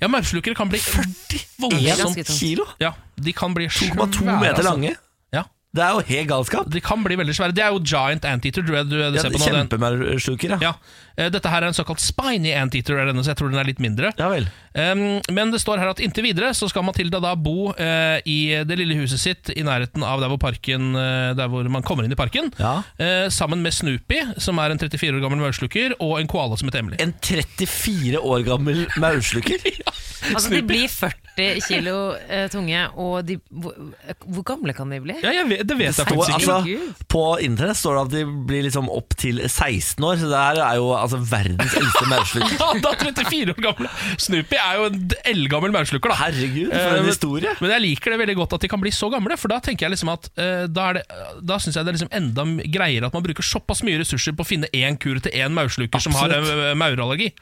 Ja, maurslukere kan bli 40 voldsomt ganske tungt. sånn kilo? Ja, de kan bli 2,2 svære, meter altså. lange. Ja, Det er jo helt galskap. de kan bli veldig svære. Det er jo giant anteater. Du, du, du Ja, ser på nå, den, Kjempemaursluker, ja. ja. Eh, Dette her er en såkalt spiny anteater, er denne, så jeg tror den er litt mindre. Ja vel. Um, men det står her at inntil videre så skal Matilda da bo eh, i det lille huset sitt i nærheten av der hvor, parken, eh, der hvor man kommer inn i parken. Ja. Eh, sammen med Snoopy, som er en 34 år gammel maursluker, og en koala som heter Emily. En 34 år gammel maursluker? Altså, de blir 40 kilo eh, tunge, og de, hvor, hvor gamle kan de bli? Ja, jeg vet, det vet <laughs> jeg Og, faktisk ikke. Herregud. altså, på internett står det at de blir liksom opp til 16 år, så det her er jo altså, verdens eldste maursluker. <laughs> Ja, da 34 år gamle Snoopy er jo en eldgammel maurslukker, da. Herregud, for Eh, en men- historie! Men jeg liker det veldig godt at de kan bli så gamle, for da tenker jeg liksom at eh, da, er det, da synes jeg det er liksom enda m- greiere at man bruker såpass mye ressurser på å finne én kur til én maurslukker som har Absolutt. eh, maurallergi.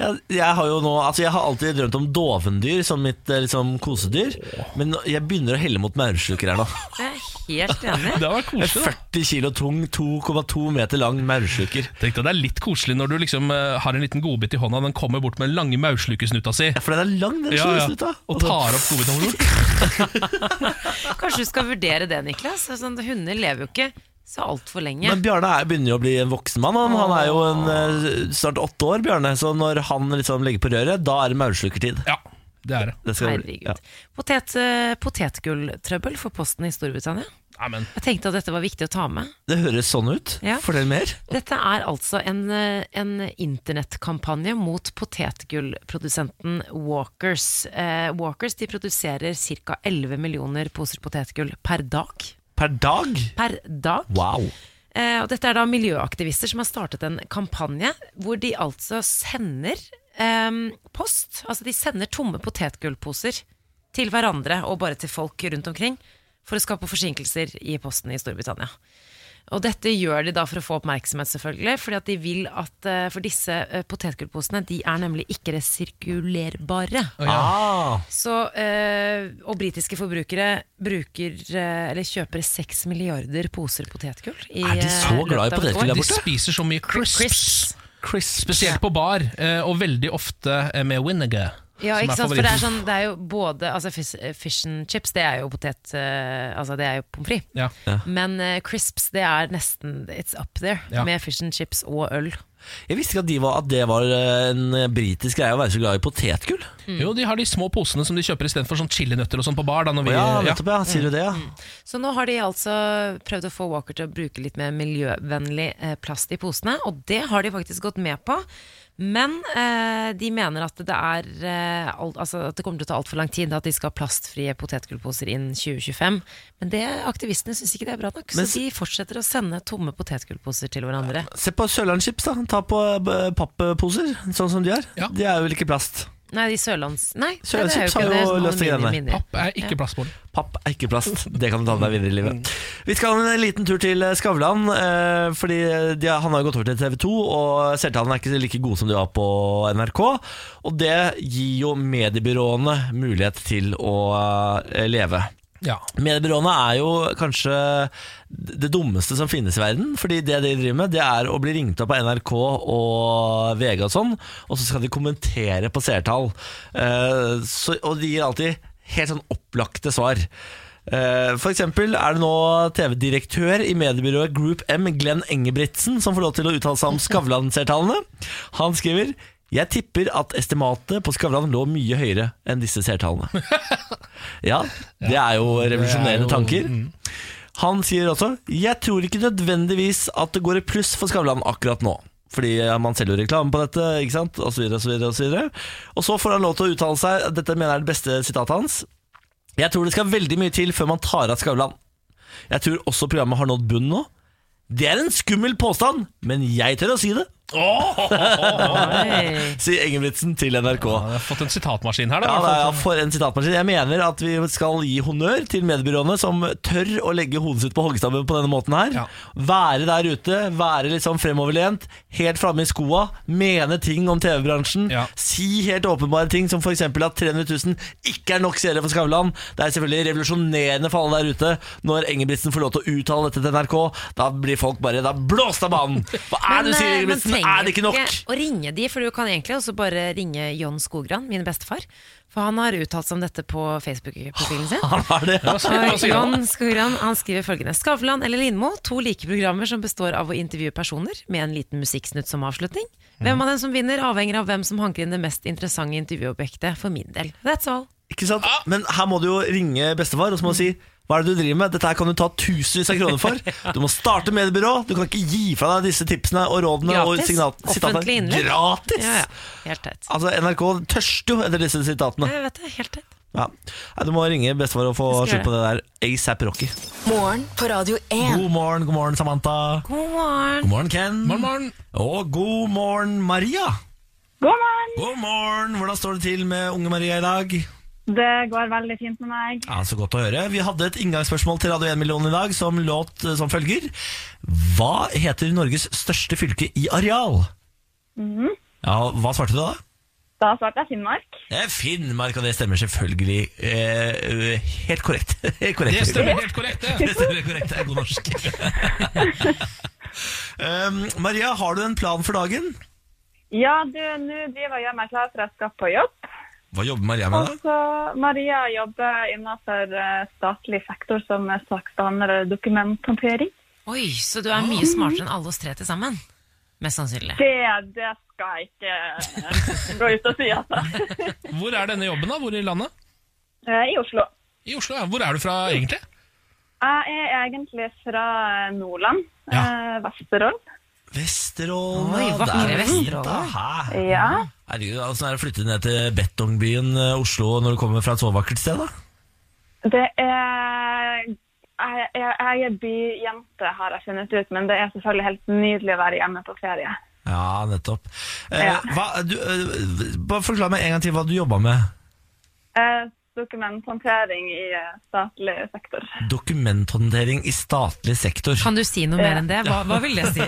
Jeg, jeg har jo nå altså, Jeg har alltid drømt om dovendyr som mitt eh, liksom, kosedyr, men jeg begynner å helle mot maursluker her nå. Jeg er helt enig. Det hadde vært En koselig. da. 40 kilo tung, 2,2 meter lang maursluker. Tenk deg, Det er litt koselig når du liksom eh, har en liten godbit i hånda, den kommer bort med den lange maurslukersnuta si. Ja, For den er lang, den Ja, ja. sluttslutt, da. Altså, Og tar opp godbiten. Kanskje du skal vurdere det, Niklas. Sånn, hunder lever jo ikke så altfor lenge. Men Bjarne er, begynner jo å bli en voksen mann. Han, han er jo en, eh, snart åtte år, Bjarne. Så når han liksom legger på røret, da er det maurslukertid. Ja, det er det. Det skal det bli. Herregud. Ja. Potet, eh, potetgulltrøbbel for posten i Storbritannia. Nei, men Jeg tenkte at dette var viktig å ta med. Det høres sånn ut. Ja. Fortell mer. Dette er altså en, eh, en internettkampanje mot potetgullprodusenten Walkers. Eh, Walkers de produserer ca. 11 millioner poser potetgull per dag. Per dag? Per dag. Wow. Eh, og dette er da miljøaktivister som har startet en kampanje hvor de altså sender eh, post. Altså de sender tomme potetgullposer til hverandre og bare til folk rundt omkring for å skape forsinkelser i posten i Storbritannia. Og dette gjør de da for å få oppmerksomhet, selvfølgelig. Fordi at de vil at eh, For disse eh, potetgullposene de er nemlig ikke resirkulerbare. Ah, Så, eh, og britiske forbrukere bruker, eh, eller kjøper 6 milliarder poser potetgull. I, Er de så eh, glad i løpet av et potetgull år. der de borte? spiser så mye crisps. Crisps. Spesielt på bar, eh, og veldig ofte eh, med vinegar. Ja, som ikke er sant? For det er, favoritten. sånn, det er jo både altså fish, fish and chips, det er jo potet eh, Altså det er jo pommes frites. Ja. Men eh, crisps, det er nesten It's up there Ja. med fish and chips og øl. jeg visste ikke at, de var, at det var eh, en britisk greie å være så glad i potetgull. Jo, de har de små posene som de kjøper istedenfor sånn chilinøtter og sånn på bar. Da, når vi, Ja, ja. nettopp, ja. Sier du det, ja. Så nå har de altså prøvd å få Walker til å bruke litt mer miljøvennlig eh, plast i posene, og det har de faktisk gått med på. Men eh, de mener at det, er, eh, alt, altså at det kommer til å ta altfor lang tid at de skal ha plastfrie potetgullposer innen 2025. Men det, aktivistene syns ikke det er bra nok, Men s- så de fortsetter å sende tomme potetgullposer til hverandre. Se på Sørlandschips, da. Ta på eh, pappposer, sånn som de er. Ja. De er jo vel ikke plast. Nei, de sørlands... Nei, nei, det er jo Sørlandschips ikke har det. jo det er løst de sånn greiene. aluminium inni. Papp er ikke plastbolig. Papp er ikke plast. Det kan du ta med deg videre i livet. Vi skal en liten tur til Skavlan, eh, fordi de, han har jo gått over til TV 2, og seertallene er ikke like gode som de var på NRK. Og det gir jo mediebyråene mulighet til å eh, leve. Ja. Mediebyråene er jo kanskje det dummeste som finnes i verden. Fordi det de driver med, det er å bli ringt opp av NRK og VG og sånn, og så skal de kommentere på seertall. Eh, så- og de gir alltid helt sånn opplagte svar. Eh, For eksempel er det nå TV-direktør i mediebyrået Group M, Glenn Engebrigtsen, som får lov til å uttale seg om Skavlan-seertallene. Han skriver jeg tipper at estimatet på Skavlan lå mye høyere enn disse seertallene. Ja, det er jo Mm. revolusjonerende Det er jo- tanker. Han sier også Jeg tror ikke nødvendigvis at det går i pluss for Skavlan akkurat nå. Fordi ja, man selger jo reklame på dette, ikke sant? Og så videre, og så videre, og så videre. Og så får han lov til å uttale seg, dette mener jeg er det beste sitatet hans. Jeg tror det skal veldig mye til før man tar av Skavlan. Jeg tror også programmet har nådd bunnen nå. Det er en skummel påstand, men jeg tør å si det, Oi. sier Engebrigtsen til NRK. Jeg har fått en sitatmaskin her, da. Ja, i hvert det fall. er for en sitatmaskin. Jeg mener at vi skal gi honnør til mediebyråene som tør å legge hodet sitt på hoggestabben på denne måten her. Ja. Være der ute, være litt sånn fremoverlent, helt framme i skoa, mene ting om TV-bransjen. Ja. Si helt åpenbare ting som f.eks. at 300 000 ikke er nok seere for Skavlan. Det er selvfølgelig revolusjonerende for alle der ute. Når Engebrigtsen får lov til å uttale dette til NRK, da blir folk bare Da blåst av banen! Hva er det du sier, eh, man Engebrigtsen? trenger Er det ikke nok? ikke å ringe de, for du kan egentlig også bare ringe John Skogran, min bestefar. For han har uttalt seg om dette på Facebook-profilen sin. Han har Ah, det. Hva Og sier han? John Skogran han skriver følgende Skavlan eller Lindmo, to like programmer som består av å intervjue personer med en liten musikksnutt som avslutning. Mm. Hvem av dem som vinner, avhenger av hvem som hanker inn det mest interessante intervjuobjektet, for min del. That's all. Ikke sant? Men her må du jo ringe bestefar og så må du si hva er det du driver med? Dette her kan du ta tusenvis av kroner <laughs> for. Du må starte mediebyrå. Du kan ikke gi fra deg disse tipsene og rådene. Og Gratis. signal- sitatene. Offentlig innlegg. Gratis! Ah. Ja, ja. Helt teit. Altså, NRK tørster jo etter disse sitatene. Jeg vet det, helt teit. Ja. Nei, du må ringe bestefar og få Jeg skal slutt på det der ASAP Rocky. Morgen på Radio 1. God morgen, god morgen, Samantha. God morgen. God morgen, Ken. Morgen, morgen. Og god morgen, Maria. God morgen! God morgen. Hvordan står det til med unge Maria i dag? Det går veldig fint med meg. Ja, Så godt å høre. Vi hadde et inngangsspørsmål til Radio 1-millionen i dag som låt eh, som følger. Hva heter Norges største fylke i areal? Ja, og Hva svarte du da? Da svarte jeg Finnmark. Eh, Finnmark, og det stemmer selvfølgelig. Eh, helt korrekt. <laughs> Helt korrekt. Det stemmer helt korrekt, det. Det stemmer korrekt, det er god norsk. <laughs> um, Maria, har du en plan for dagen? Ja, du, nå driver jeg meg klar for jeg skal på jobb. Hva jobber Maria med Og da? så Maria jobber innenfor eh, statlig sektor som er saksbehandler og dokumenthåndtering. Oi, så du er mye Ah. smartere enn alle oss tre til sammen. Mest sannsynlig. Det, det skal jeg ikke eh, gå ut og si, altså. Hvor er denne jobben, da? Hvor i landet? Eh, I Oslo. I Oslo, ja. Hvor er du fra, egentlig? Jeg er egentlig fra eh, Nordland, Ja. eh, Vesterålen. Vesterålen. Oi, ja, vakre der er det fint, Vesterålen. da. Hæ? Ja. Herregud, Åssen er det å flytte ned til betongbyen eh, Oslo når du kommer fra et så vakkert sted? da? Det er jeg, jeg, jeg er byjente, har jeg funnet ut, men det er selvfølgelig helt nydelig å være hjemme på ferie. Ja, nettopp. Eh, Ja. Hva, du, eh, bare forklar meg en gang til hva du jobba med. Eh, dokumenthåndtering i eh, statlig sektor. Dokumenthåndtering i statlig sektor. Kan du si noe mer enn det? Hva, hva vil det si?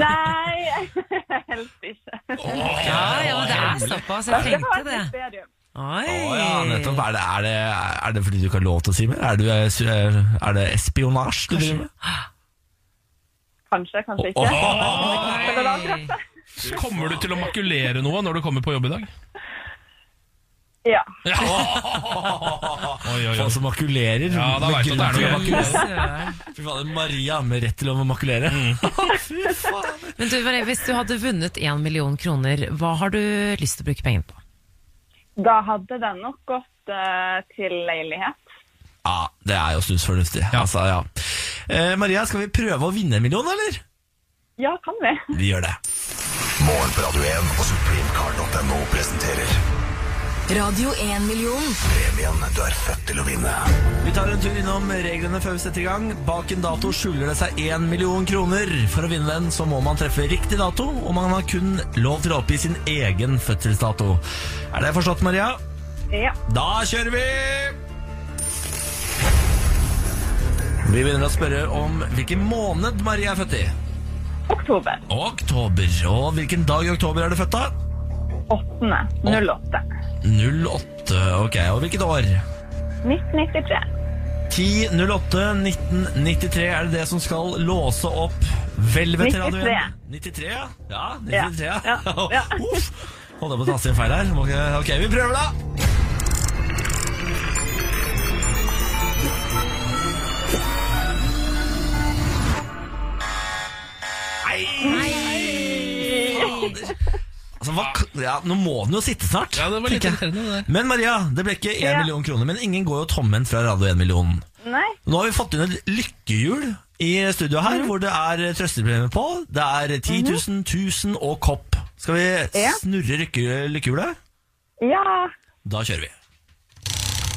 Nei, <laughs> helst ikke. Ja, ja, det er såpass. Jeg Det tenkte var et det. mysterium. Å ja, nettopp. Oi. Er det, er, det, er det fordi du ikke har lov til å si mer? Er, du, er, er det espionasje du driver med? Kanskje, kanskje ikke. Men det var akkurat det. Kommer du til å makulere noe når du kommer på jobb i dag? Ja. Oi, oi, Folk oi. som makulerer. Ja, da vet du at det er noe. Søren. Fy faen, Maria med rett til å makulere. Mm. <laughs> Fy faen. Men du, Marie, hvis du hadde vunnet én million kroner, hva har du lyst til å bruke pengene på? Da hadde det nok gått eh, til leilighet. Ja, det er jo snusfornuftig. Altså, ja. eh, Maria, skal vi prøve å vinne en million, eller? Ja, kan vi. Vi gjør det. Morgen på Radio 1 og supremecard.no presenterer Radio 1-million. premien du er født til å vinne. Vi tar en tur innom reglene før vi setter i gang. Bak en dato skjuler det seg 1 million kroner. For å vinne den så må man treffe riktig dato, og man har kun lov til å oppgi sin egen fødselsdato. Er det forstått, Maria? Ja. Da kjører vi! Vi begynner å spørre om hvilken måned Maria er født i. Oktober. Oktober. Og hvilken dag i oktober er du født, da? 8. 08. 08. Ok, og hvilket år? 1993. 10.08.1993 er det det som skal låse opp hvelvet til radioen. 93, ja. Ja, 93, ja. Ja, <laughs> ja. Uff. Holdt jeg på å taste inn feil her. Må ikke- Ok, vi prøver, da. Nei! Fader. Altså, hva, k- ja, nå må den jo sitte snart. Ja, det var litt tenker jeg. irriterende, det der. Men Maria, det ble ikke 1 Ja. million kroner, men ingen går jo tomhendt fra Radio 1 million. Nei. Nå har vi fått inn et lykkehjul i studio Mm. her, hvor det er trøstepremier på. Det er 10 000, 1000 og kopp. Skal vi Mhm. Ja. snurre lykke, lykkehjulet? Ja. Da kjører vi.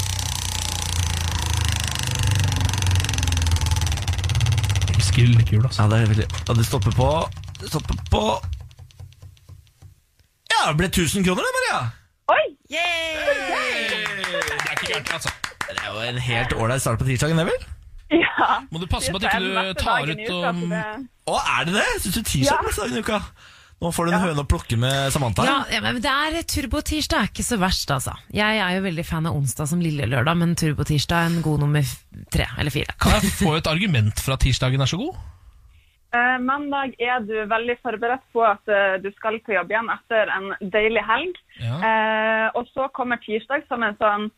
Elsker lykkehjul, altså. Ja, det, er veldig, ja, det stopper på Det stopper på Ja, det ble 1000 kroner, det, Maria! Oi! Det er ikke gærent, altså. Det er jo en helt ålreit start på tirsdagen, det, vel? Ja. Må du passe på at Det er ikke du eh, neste tar dagen i ut altså, um, uka, og så det- Å, er det det? Syns du tirsdag er neste dag i uka? Nå får du en høne å plukke med Samantha. Ja, ja, men det er Turbotirsdag er ikke så verst, altså. Jeg er jo veldig fan av onsdag som lille lørdag, men Turbotirsdag er en god nummer f- tre eller fire. Kan jeg få et argument for at tirsdagen er så god? Eh, mandag er du veldig forberedt på at eh, du skal på jobb igjen etter en deilig helg. Ja. Eh, og så kommer tirsdag som en sånn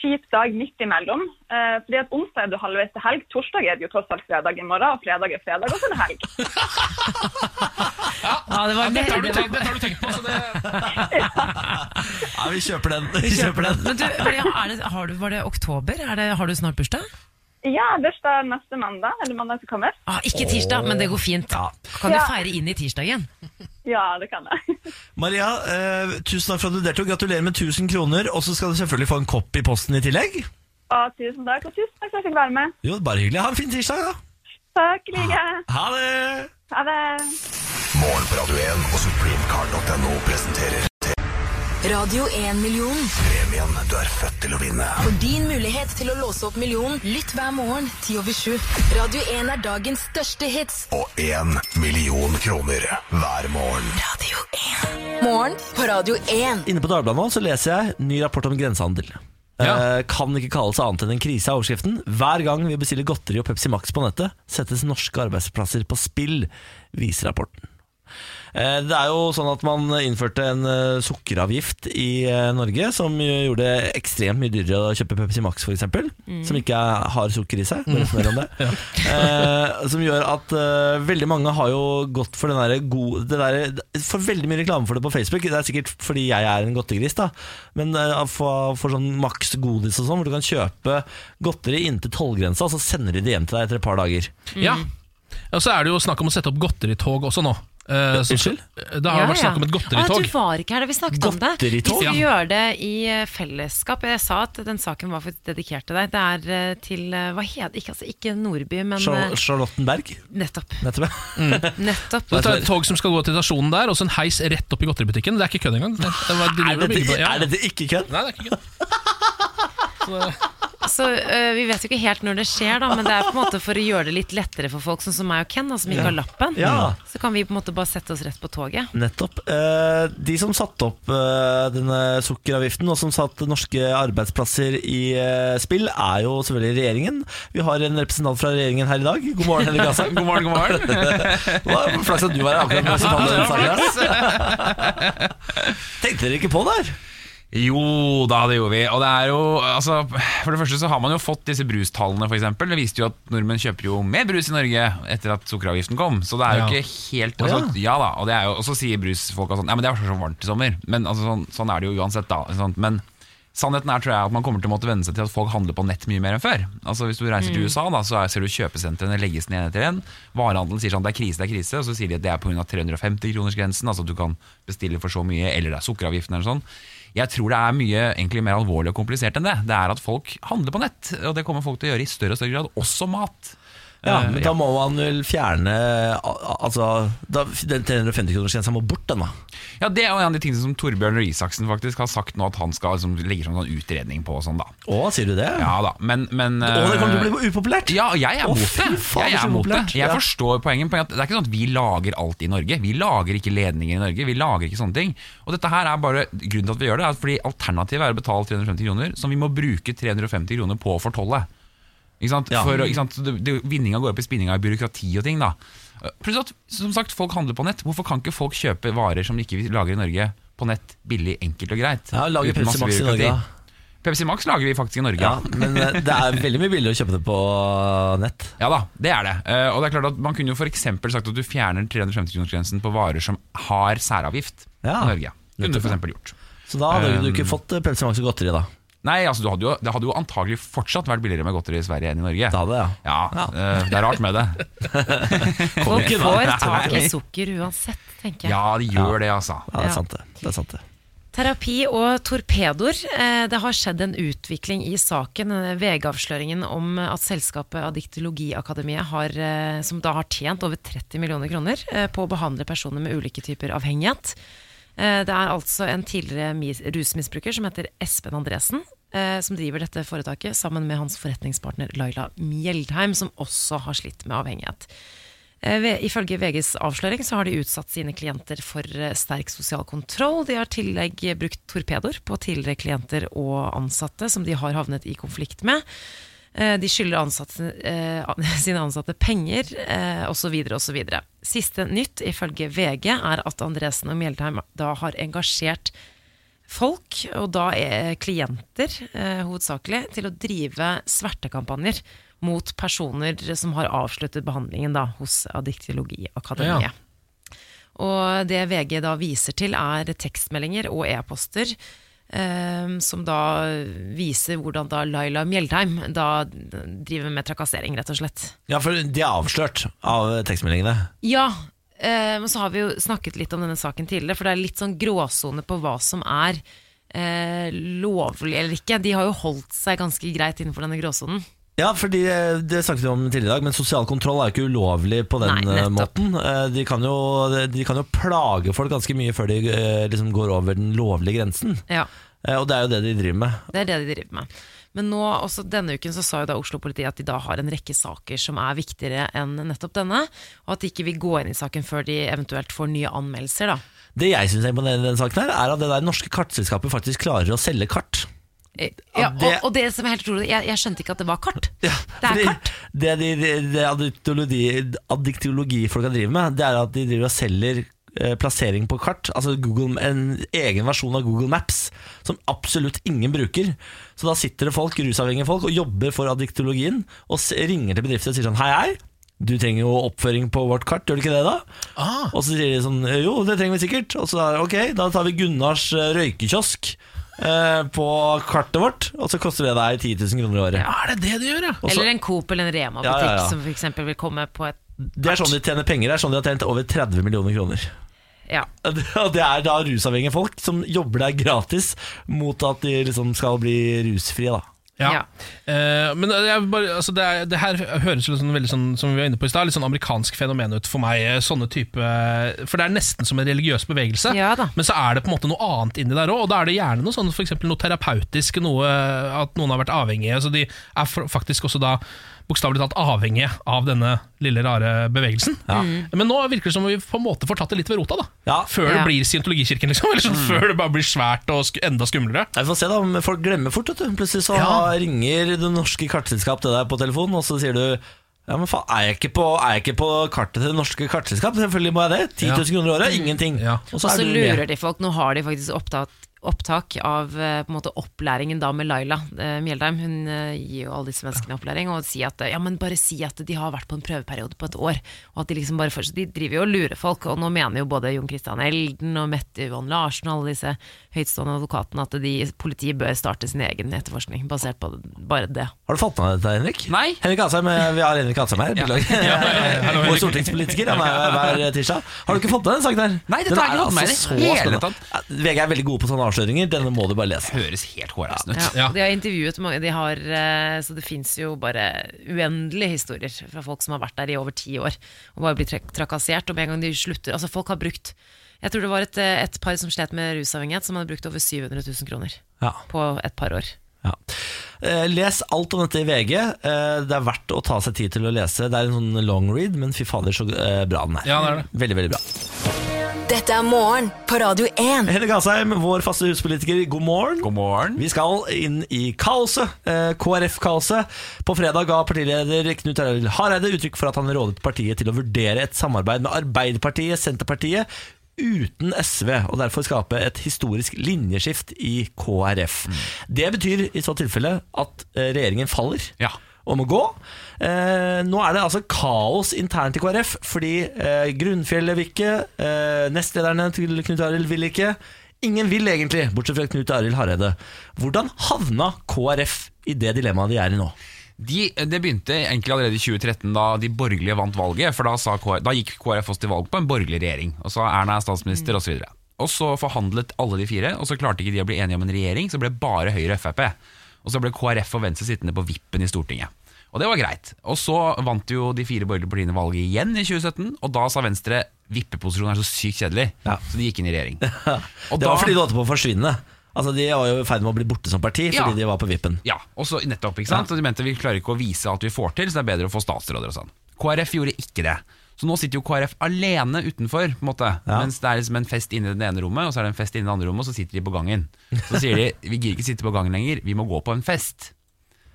kjip dag midt imellom. Eh, fordi at onsdag er du halvveis til helg, torsdag er det jo tross alt fredag i morgen, og fredag er fredag, og så er det helg. Ja, det var, Dette har du det var- tenkt, dette har du tenkt på, så det Ja, <laughs> vi kjøper den. Vi kjøper den. Men du, Maria, er det, har du, var det oktober? Er det, har du snart bursdag? Ja, bursdag neste mandag, eller mandag som kommer. Ah, ikke tirsdag, men det går fint. Kan du Ja. feire inn i tirsdagen? Ja, det <laughs> kan jeg. Maria, eh, tusen takk for at du deltok. Gratulerer med 1000 kroner. Og så skal du selvfølgelig få en kopp i posten i tillegg. Og tusen takk, og tusen takk for at jeg fikk være med. Jo, bare hyggelig. Ha en fin tirsdag, da. Takk i like. Ha det! Ha det. Morgen på Radio 1 og supremecard.no presenterer Radio 1-million. premien du er født til å vinne. For din mulighet til å låse opp millionen, lytt hver morgen 10 over 7. Radio 1 er dagens største hits. Og én million kroner hver morgen. Radio 1. Morgen på Radio 1. Inne på Dagbladet nå så leser jeg ny rapport om grensehandel. Ja. Eh, kan ikke kalles annet enn en krise av overskriften. Hver gang vi bestiller godteri og Pepsi Max på nettet, settes norske arbeidsplasser på spill, viser rapporten. Eh, Det er jo sånn at man innførte en eh, sukkeravgift i eh, Norge som jo gjorde det ekstremt mye dyrere å kjøpe Pepsi Max f.eks., eksempel som ikke er- har sukker i seg. Bare mer om det. eh, som gjør at eh, veldig mange har jo gått for den derre gode det derre- For veldig mye reklame for det på Facebook. Det er sikkert fordi jeg er en godtegris, da. Men eh, for, for sånn maks godis og sånn, hvor du kan kjøpe godteri inntil tollgrensa, og så sender de det hjem til deg etter et par dager. Ja. Og så er det jo snakk om å sette opp godteritog også nå. Mm. Eh, så- Unnskyld? Det har Ja, vært snakk om et Ah, godteritog. du var ikke her da vi snakket om det. Vi Godteritog, ja. skulle gjøre det i eh, fellesskap. Jeg sa at den saken var for dedikert til deg. Det er eh, til eh, hva heter ikke, altså, ikke Nordby, men Char eh, Charlottenberg, nettopp. nettopp. <laughs> nettopp. Så det er et tog som skal gå til stasjonen der, og så en heis rett opp i godteributikken. Det er ikke kødd engang. Det, det var, de Er driver og bygger dette, på- ja. er dette ikke kødd? Nei, det er ikke kødd. Så eh, Vi vet jo ikke helt når det skjer, da, men det er på en måte for å gjøre det litt lettere for folk sånn som meg og Ken, da, som ikke har lappen. Ja. Så kan vi på en måte bare sette oss rett på toget. Nettopp. Eh, De som satte opp eh, denne sukkeravgiften, og som satte norske arbeidsplasser i eh, spill, er jo selvfølgelig regjeringen. Vi har en representant fra regjeringen her i dag. God morgen, Henrik <laughs> Asheim. God <laughs> morgen, god morgen. Det var Flaks at du var her akkurat nå. som hadde den saken her. Tenkte dere ikke på det her? Jo da, det gjorde vi. Og det er jo, altså, for det første så har man jo fått disse brustallene, f.eks. Det viste jo at nordmenn kjøper jo mer brus i Norge etter at sukkeravgiften kom. Så det er Ja. jo ikke helt altså, ja. da, og, det er jo, og så sier brusfolka sånn Ja, men det var så varmt i sommer. Men altså, sånn, sånn er det jo uansett, da. ikke sant? Men sannheten er tror jeg at man kommer til å måtte venne seg til at folk handler på nett mye mer enn før. Altså Hvis du reiser til USA, da, så er- ser du kjøpesentrene legges ned etter en. Varehandelen sier sånn det er krise, det er krise. Og så sier de at det er pga. 350-kronersgrensen, altså at du kan bestille for så mye, eller det er sukkeravgiften eller sånn. Jeg tror det er mye egentlig mer alvorlig og komplisert enn det. Det er at folk handler på nett, og det kommer folk til å gjøre i større og større grad, også mat. Ja, Eh, men Da må man vel fjerne al- al- Altså, da, den 350-kronersgrensa må bort, den da. Ja, Det er jo en av de tingene som Torbjørn Røe Isaksen faktisk har sagt nå, at han skal liksom, legge fram en sånn utredning på og sånn, da. Å, sier du det? Ja da, men, men Å, det kommer til eh, å bli upopulært! Ja, og jeg er Å, mot fy det. faen, Jeg så er mot det. populært. Jeg Ja. forstår poenget. poenget er at Det er ikke sånn at vi lager alt i Norge. Vi lager ikke ledninger i Norge. Vi lager ikke sånne ting. Og dette her er bare Grunnen til at vi gjør det, er fordi alternativet er å betale 350 kroner, som vi må bruke 350 kroner på å fortolle. Ikke sant? Ja. For, å- ikke sant? Det, det, vinninga går opp i spinninga i byråkrati og ting, da. Pluss at som sagt, folk handler på nett. Hvorfor kan ikke folk kjøpe varer som de ikke lager i Norge, på nett, billig, enkelt og greit? Ja, lager Uten Pepsi masse Max i byråkrati. Norge, da. Pepsi Max lager vi faktisk i Norge. Ja, men eh, det er veldig mye billigere å kjøpe det på nett. Ja da, det er det. Eh, og det er klart at Man kunne jo for eksempel sagt at du fjerner 350-kronersgrensen på varer som har særavgift Ja, i Norge. Kunne du for eksempel gjort. Så da hadde du ikke fått eh, Pepsi Max og godteri, da. Nei, altså du hadde jo, Det hadde jo antagelig fortsatt vært billigere med godteri i Sverige enn i Norge. Det hadde, ja. Ja, Ja. eh, Det er rart med det. Folk igjen, da. <laughs> får tak i sukker uansett, tenker jeg. Ja, det gjør det, altså. Ja, det Ja. er sant, det. det, er sant det. Terapi og torpedoer. Eh, Det har skjedd en utvikling i saken. eh, VG-avsløringen om at selskapet Addictologiakademiet, har, eh, som da har tjent over 30 millioner kroner eh, på å behandle personer med ulike typer avhengighet. Eh, Det er altså en tidligere mis- rusmisbruker som heter Espen Andresen, eh, som driver dette foretaket sammen med hans forretningspartner Laila Mjeldheim, som også har slitt med avhengighet. Eh, ved- Ifølge VGs avsløring så har de utsatt sine klienter for eh, sterk sosial kontroll. De har i tillegg brukt torpedoer på tidligere klienter og ansatte som de har havnet i konflikt med. Eh, De skylder ansatte, eh, an- <laughs> sine ansatte penger eh, osv. osv. Siste nytt ifølge VG er at Andresen og Mjeldheim da har engasjert folk, og da er klienter eh, hovedsakelig, til å drive svertekampanjer mot personer som har avsluttet behandlingen da, hos Addictologiakademiet. Ja. Og det VG da viser til er tekstmeldinger og e-poster eh, eh, som da viser hvordan da Laila Mjeldheim da driver med trakassering, rett og slett. Ja, for de er avslørt av tekstmeldingene. Ja, eh, men så har vi jo snakket litt om denne saken tidligere, for det er litt sånn gråsone på hva som er eh, lovlig eller ikke. De har jo holdt seg ganske greit innenfor denne gråsonen. Ja, fordi eh, det snakket vi om tidligere i dag, men sosial kontroll er jo ikke ulovlig på den Nei, eh, nettopp. måten. Eh, De kan, jo, de kan jo plage folk ganske mye før de eh, liksom går over den lovlige grensen. Ja, Eh, Og det er jo det de driver med. det er det de driver med. Men nå, også denne uken så sa jo da Oslo-politiet at de da har en rekke saker som er viktigere enn nettopp denne, og at de ikke vil gå inn i saken før de eventuelt får nye anmeldelser, da. Det jeg syns er imponerende i denne saken, her er at det der norske kartselskapet faktisk klarer å selge kart. Eh, Ja, og, det- og det som er helt utrolig, jeg, jeg skjønte ikke at det var kart. det er Fordi kart. Det, de, det, det addiktologi- addiktologifolka driver med, det er at de driver og selger eh, plassering på kart. Altså Google, en egen versjon av Google Maps som absolutt ingen bruker. Så da sitter det folk, rusavhengige folk og jobber for addiktologien og s- ringer til bedrifter og sier sånn Hei, hei. Du trenger jo oppføring på vårt kart, gjør du ikke det da? Og så sier de sånn, jo det trenger vi sikkert Og så er det, ok, da tar vi Gunnars eh, røykekiosk eh, På kartet vårt Og så koster det deg 10 000 kroner i året Er det det de gjør, ja? Og så- Eller en Coop eller en Rema-butikk Ja, ja, ja. som for eksempel vil komme på et Det er sånn de tjener penger. Det er sånn de har tjent over 30 millioner kroner. Ja. Og det er da rusavhengige folk som jobber der gratis mot at de liksom skal bli rusfrie, da. Ja. Ja. Eh, men jeg vil bare, altså det, er, det her høres jo sånn, veldig sånn, som vi var inne på i stad, litt sånn amerikansk fenomen ut for meg. eh, Sånne type For det er nesten som en religiøs bevegelse, Ja da. men så er det på en måte noe annet inni der òg. Og da er det gjerne noe sånn, for eksempel noe terapeutisk, noe eh, at noen har vært avhengige. Så de er for- faktisk også da bokstavelig talt avhengige av denne lille, rare bevegelsen. Men nå virker det som om vi på en måte får tatt det litt ved rota, da. Ja. Før det Mm. Ja. blir scientologikirken, liksom. Eller sånn, Før det bare blir svært og sk enda skumlere. Ja, Vi får se da om folk glemmer fort. Vet du. Plutselig så Ja. ringer det norske kartselskap til deg på telefonen, og så sier du ja, men faen, er jeg, ikke på, er jeg ikke på kartet til det norske kartselskap? Selvfølgelig må jeg det. 10 000 kroner i året, ingenting. Ja. Og Og er så du med. lurer de folk, nå har de faktisk opptatt opptak av eh, på en måte opplæringen da med Laila eh, Mjeldheim. Hun eh, gir jo alle disse menneskene opplæring og sier at eh, ja, men bare si at de har vært på en prøveperiode på et år. Og at De liksom bare fortsetter. De driver jo og lurer folk, og nå mener jo både Jon Christian Elden og Mette Yvonne Larsen og alle disse høytstående advokatene at de, politiet bør starte sin egen etterforskning basert på bare det. Har du fått med deg dette, Henrik? Nei. Henrik Asheim, eh, Vi har Henrik Asheim her. <laughs> beklager. Vår stortingspolitiker. Han er her hver tirsdag. Har du ikke fått med deg den saken her? Nei, dette Den har jeg ikke fått altså med meg i det så hele spennende. VG er veldig gode på sånne avsløringer. Denne må du bare lese. Høres helt hårreisende ut. Ja. Ja. De har intervjuet mange, de har, eh, så det fins jo bare uendelige historier fra folk som har vært der i over ti år og bare blir trak trakassert. Og med en gang de slutter Altså, folk har brukt Jeg tror det var et, eh, et par som slet med rusavhengighet, som hadde brukt over 700 000 kroner Ja. på et par år. Ja. Eh, Les alt om dette i VG. Eh, Det er verdt å ta seg tid til å lese. Det er en sånn long read, men fy fader, så eh, bra den er. Ja, det er det. Veldig, veldig bra. Dette er morgen på Radio 1. Henrik Asheim, vår faste huspolitiker, god morgen. God morgen. Vi skal inn i kaoset, eh, KrF-kaoset. På fredag ga partileder Knut Arild Hareide uttrykk for at han rådet partiet til å vurdere et samarbeid med Arbeiderpartiet, Senterpartiet, uten SV, og derfor skape et historisk linjeskift i KrF. Det betyr i så tilfelle at eh, regjeringen faller. Ja. Og må gå. Eh, nå er det altså kaos internt i KrF, fordi eh, Grunnfjellet vil ikke, eh, nestlederne til Knut Arild vil ikke. Ingen vil egentlig, bortsett fra Knut Arild Hareide. Hvordan havna KrF i det dilemmaet de er i nå? De, det begynte egentlig allerede i 2013, da de borgerlige vant valget. For da, sa KrF, da gikk KrF også til valg på en borgerlig regjering. Og så Erna Mm. er statsminister, osv. Og så forhandlet alle de fire, og så klarte ikke de å bli enige om en regjering. Så ble bare Høyre og Frp. Og så ble KrF og Venstre sittende på vippen i Stortinget. Og det var greit. Og så vant jo de fire borgerlige partiene valget igjen i 2017, og da sa Venstre vippeposisjon er så sykt kjedelig, Ja. så de gikk inn i <laughs> regjering. Og det var da- fordi de holdt på å forsvinne. Altså, de var jo i ferd med å bli borte som parti fordi Ja. de var på vippen. Ja, og så nettopp, ikke sant? Og de mente vi klarer ikke å vise alt vi får til, så det er bedre å få statsråder og sånn. KrF gjorde ikke det. Så nå sitter jo KrF alene utenfor, på en måte. Ja. Mens det er liksom en fest inne i det ene rommet, og så er det en fest inne i <laughs> det andre rommet, og så sitter de på gangen. Så sier de vi gir ikke sitte på gangen lenger, vi må gå på en fest.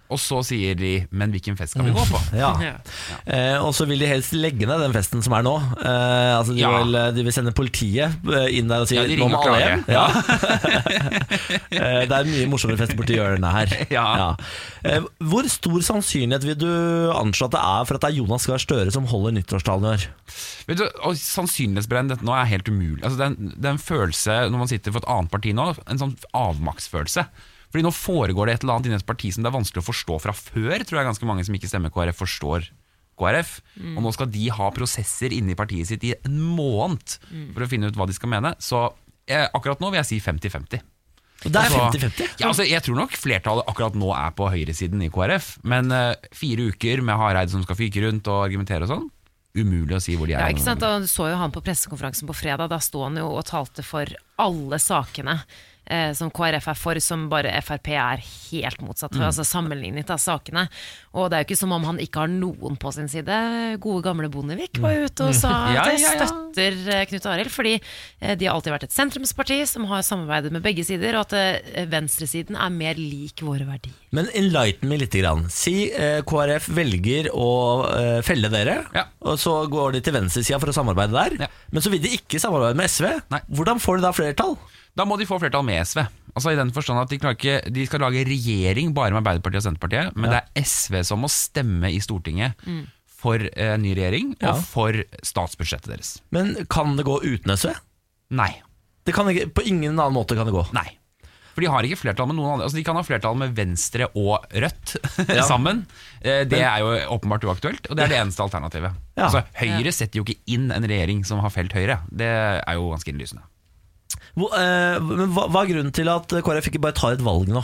Og så sier de 'men hvilken fest skal vi gå på'? Mm. Ja. Ja. Eh, og så vil de helst legge ned den festen som er nå. Eh, altså de, Ja. vil, de vil sende politiet eh, inn der og si Ja, de nå må ringer og alle hjem. Ja. eh, det er en mye morsommere fest borti hjørnet her. <laughs> Ja. Eh, hvor stor sannsynlighet vil du anslå at det er for at det er Jonas Gahr Støre som holder nyttårstalen i år? Vet du, og Sannsynlighetsberegning dette nå er helt umulig. Altså, det, er en, det er en følelse når man sitter for et annet parti nå, en sånn avmaktsfølelse. Fordi nå foregår det et eller annet inni et parti som det er vanskelig å forstå fra før. Tror jeg ganske mange som ikke stemmer KrF, forstår KrF. Mm. Og nå skal de ha prosesser inni partiet sitt i en måned Mm. for å finne ut hva de skal mene. Så eh, akkurat nå vil jeg si 50-50. Det er Altså, 50-50. Ja, altså, jeg tror nok flertallet akkurat nå er på høyresiden i KrF. Men eh, fire uker med Hareide som skal fyke rundt og argumentere og sånn, umulig å si hvor de er. Ja, ikke sant? Da så jo han på pressekonferansen på fredag, da sto han jo og talte for alle sakene eh, som KrF er for, som bare Frp er helt motsatt Mm. for, altså sammenlignet av sakene. Og det er jo ikke som om han ikke har noen på sin side. Gode gamle Bondevik var jo ute og sa Mm. <laughs> Ja, at jeg ja, ja. støtter eh, Knut Arild, fordi eh, de har alltid vært et sentrumsparti som har samarbeidet med begge sider, og at eh, venstresiden er mer lik våre verdier. Men enlighten meg litt. Grann. Si eh, KrF velger å eh, felle dere, Ja. og så går de til venstresida for å samarbeide der. Ja. Men så vil de ikke samarbeide med SV. Nei. Hvordan får de da flertall? Da må de få flertall med SV. Altså i den forstand at De, klarer ikke, de skal lage regjering bare med Arbeiderpartiet og Senterpartiet, men det er SV som må stemme i Stortinget for eh, ny regjering Mm. Ja. og for statsbudsjettet deres. Men kan det gå uten SV? Nei. Det kan ikke, på ingen annen måte kan det gå. Nei. For de har ikke flertall med noen andre. Altså De kan ha flertall med Venstre og Rødt <laughs> sammen. Eh, det er jo åpenbart uaktuelt, og det er det eneste alternativet. Ja. Altså Høyre setter jo ikke inn en regjering som har felt Høyre. Det er jo ganske innlysende. Hvor, eh, men hva, hva er grunnen til at KrF ikke bare tar et valg nå?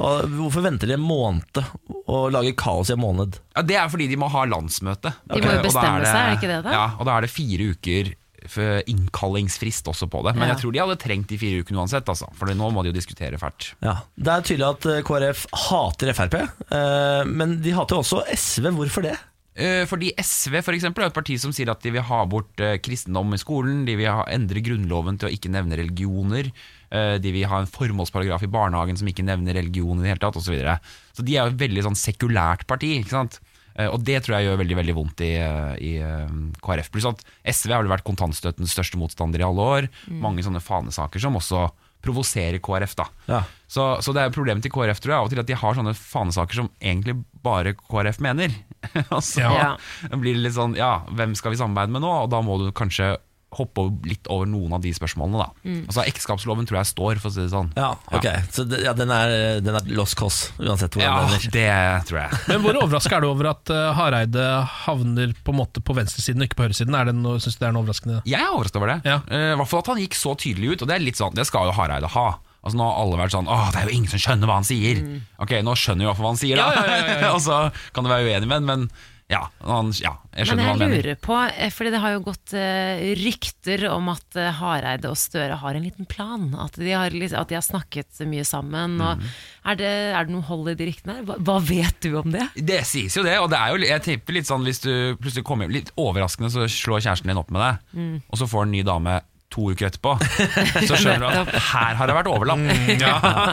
Og hvorfor venter de en måned og lager kaos i en måned? Ja, Det er fordi de må ha landsmøte. De må jo Og da bestemme seg, er det ikke det da? Ja, og da er det fire uker for innkallingsfrist også på det. Men Ja. jeg tror de hadde trengt de fire ukene uansett, altså. for nå må de jo diskutere fælt. Ja, Det er tydelig at eh, KrF hater Frp, eh, men de hater også SV. Hvorfor det? Eh, Fordi SV for eksempel, er et parti som sier at de vil ha bort eh, kristendom i skolen, de vil ha, endre grunnloven til å ikke nevne religioner, eh, de vil ha en formålsparagraf i barnehagen som ikke nevner religion i det hele tatt, osv. Så, videre. så de er jo et veldig sånn sekulært parti. ikke sant? Eh, Og det tror jeg gjør veldig veldig vondt i, eh, i eh, KrF. Pluss at SV har vel vært kontantstøttens største motstander i alle år. Mange sånne fanesaker som også provoserer KrF. da. Ja. Så, så det er problemet til KrF tror jeg, av og til at de har sånne fanesaker som egentlig bare KrF mener. <laughs> og så Ja. blir det litt sånn ja, hvem skal vi samarbeide med nå? Og da må du kanskje hoppe over- litt over noen av de spørsmålene, da. Mm. Altså Ekteskapsloven tror jeg står, for å si det sånn. Ja, ok. Så det, ja, den, er, den er lost cause, uansett hvor Ja, den ender. det tror jeg. <laughs> Men hvor overraska er du over at eh, Hareide havner på en måte på venstresiden og ikke på høyresiden? Er det noe, synes du det er noe overraskende? Jeg er overrasket over det. Ja. Eh, I hvert fall at han gikk så tydelig ut, og det er litt sånn, det skal jo Hareide ha. Altså Nå har alle vært sånn Åh, det er jo ingen som skjønner hva han sier. Mm. Ok, nå skjønner vi i hvert fall hva han sier, da. Ja, ja, ja, ja, ja. <laughs> og så kan du være uenig med han, men ja, han, ja jeg Men skjønner hva jeg han mener. lurer på, eh, fordi det har jo gått eh, rykter om at eh, Hareide og Støre har en liten plan. At de har, lis- at de har snakket mye sammen. Og er, det, er det noe hold i de ryktene? her? Hva, hva vet du om det? Det sies jo det, og det er jo, jeg tipper litt sånn hvis du plutselig kommer hjem litt overraskende, så slår kjæresten din opp med deg, og så får en ny dame to uker etterpå. <laughs> Så skjønner du at her har det vært overlapp. <laughs>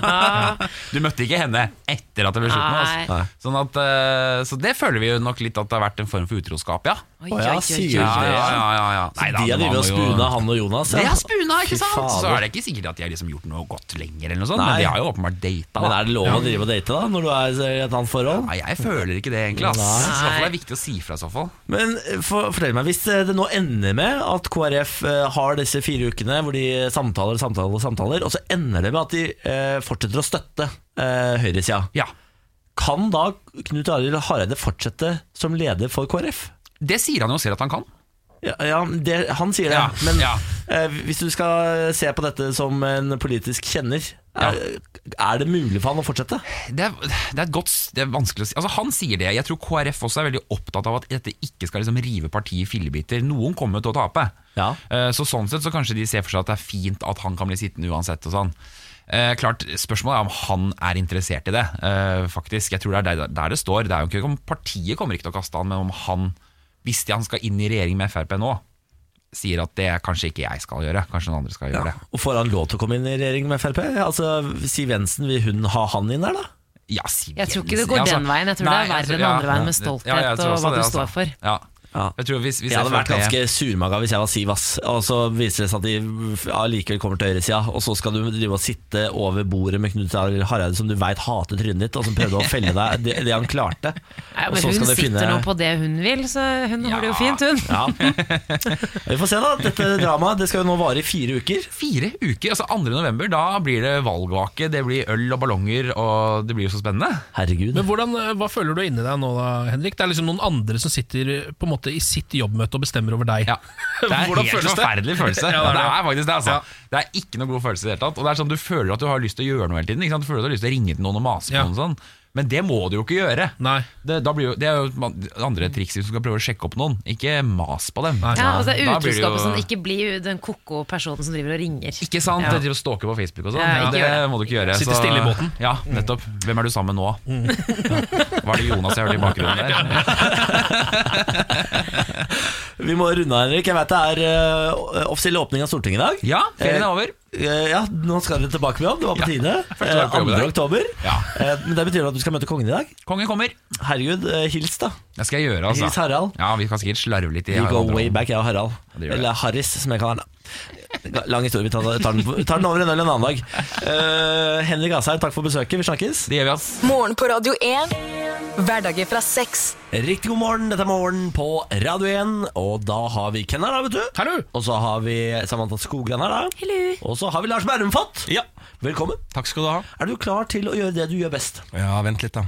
Du møtte ikke henne etter at det ble slutt med Nei. oss. Nei. Sånn at, eh, så det føler vi jo nok litt at det har vært en form for utroskap, ja. Oi, Å ja, sier du Ja, det? ja, ja, ja, ja. Så de det har drevet var og jo- spuna han og Jonas. De har spuna, Fy ikke sant? Så fader. er det ikke sikkert at de har liksom gjort noe godt lenger, eller noe sånt, Nei. men de har jo åpenbart data. Men da. er det lov å drive og date da, når du er i et annet forhold? Nei, jeg føler ikke det egentlig, ass. Nei. Så i hvert fall er det viktig å si fra i så fall. Men eh, for, fortell meg, hvis eh, det nå ender med at KrF eh, har disse fire ukene hvor de samtaler, samtaler, samtaler, og så ender det med at de eh, fortsetter å støtte eh, høyresida, Ja. kan da Knut Arild Hareide fortsette som leder for KrF? Det sier han jo selv at han kan. Ja, ja det, han sier det, Ja, men ja. eh, hvis du skal se på dette som en politisk kjenner, er, er det mulig for han å fortsette? Det er, det er et godt s- Det er vanskelig å si. Altså Han sier det. Jeg tror KrF også er veldig opptatt av at dette ikke skal liksom rive partiet i fillebiter. Noen kommer til å tape. Ja. Eh, Så sånn sett så kanskje de ser for seg at det er fint at han kan bli sittende uansett. og sånn Eh, klart, Spørsmålet er om han er interessert i det, eh, faktisk. Jeg tror det er der, der det står. Det er jo ikke om Partiet kommer ikke til å kaste han, men om han, hvis de- han skal inn i regjering med Frp nå, sier at det kanskje ikke jeg skal gjøre, kanskje noen andre skal gjøre det. Og får han lov til å komme inn i regjering med Frp? Altså, Siv Jensen, vil hun ha han inn der, da? Ja, si Jeg tror ikke det Jensen. går Ja, altså, den veien. Jeg tror det er verre den andre veien med stolthet jeg tror og også hva du altså. står for. Ja. Ja. Jeg tror hvis, hvis Jeg hadde vært FrP ganske surmaga hvis jeg var Siv, ass. Og så viser det seg at de allikevel kommer til høyresida, og så skal du drive og sitte over bordet med Knut Arild Hareide, som du veit hater trynet ditt, og som prøvde å <laughs> felle deg det, det han klarte. Nei, Og men så hun skal sitter du finne- nå på det hun vil, så hun har det jo Ja. fint, hun. Ja. Vi får se, da. Dette dramaet det skal jo nå vare i fire uker. Fire uker, altså 2. november, da blir det valgvake, det blir øl og ballonger, og det blir jo så <laughs> spennende. Herregud. Men hvordan, eh, Hva føler du inni deg nå, da, Henrik? Det er liksom noen andre som sitter eh, på en måte i sitt jobbmøte og bestemmer over deg. <laughs> Ja. Det er Hvordan en helt føles det? forferdelig følelse. <laughs> Ja, det er ja, det det. er faktisk det, altså. Ja. Det er ikke noen god følelse i det hele tatt. Og det er sånn, Du føler at du har lyst til å gjøre noe hele tiden. Ikke sant? Du føler at du har lyst til å ringe til noen og mase på Ja. noen. og Sånn. Men det må du jo ikke gjøre. Nei. Det, da blir jo, det er jo man- andre triks hvis du skal prøve å sjekke opp noen. Ikke mas på dem. Nei. Ja, og så er Da blir det jo- utroskapet sånn, ikke bli den koko personen som driver og ringer. Ikke sant? Ja. Det driver og stalker på Facebook og sånn. Ja, ikke det gjør det. må du ikke gjøre. Sitte så- stille i båten. Ja, nettopp. Hvem er du sammen med nå? Mm. Var det Jonas jeg hørte i bakgrunnen der? Vi må runde av, Henrik. Jeg veit det er eh, offisiell åpning av Stortinget i dag. Ja, ferien er Eh, over. Eh, Ja, nå skal dere tilbake med jobb. Det var på tide. første dag på jobb i 2. dag. oktober. Ja. Eh, Men det betyr at du skal møte kongen i dag. Kongen kommer. Herregud, eh, hils, da. Det skal jeg gjøre, altså. Hils Harald. Ja, Vi kan sikkert slarve litt i We go Harald. way back, jeg og Harald. Ja, det gjør Eller Harris, som jeg kaller han. Lang historie. Vi tar, tar, den, tar den over en øl en annen dag. Eh, Henrik Asheim, takk for besøket. Vi snakkes. Det gjør vi, ass. Morgen på Radio 1. Hverdager fra seks. Riktig god morgen. Dette er Morgen på Radio 1. Og da har vi Ken her, da, vet du. Hallo! Og så har vi Samantha Skogran her, da. Hello. Og så har vi Lars Berrum Fatt. Velkommen. Takk skal du ha. Er du klar til å gjøre det du gjør best? Ja, vent litt, da.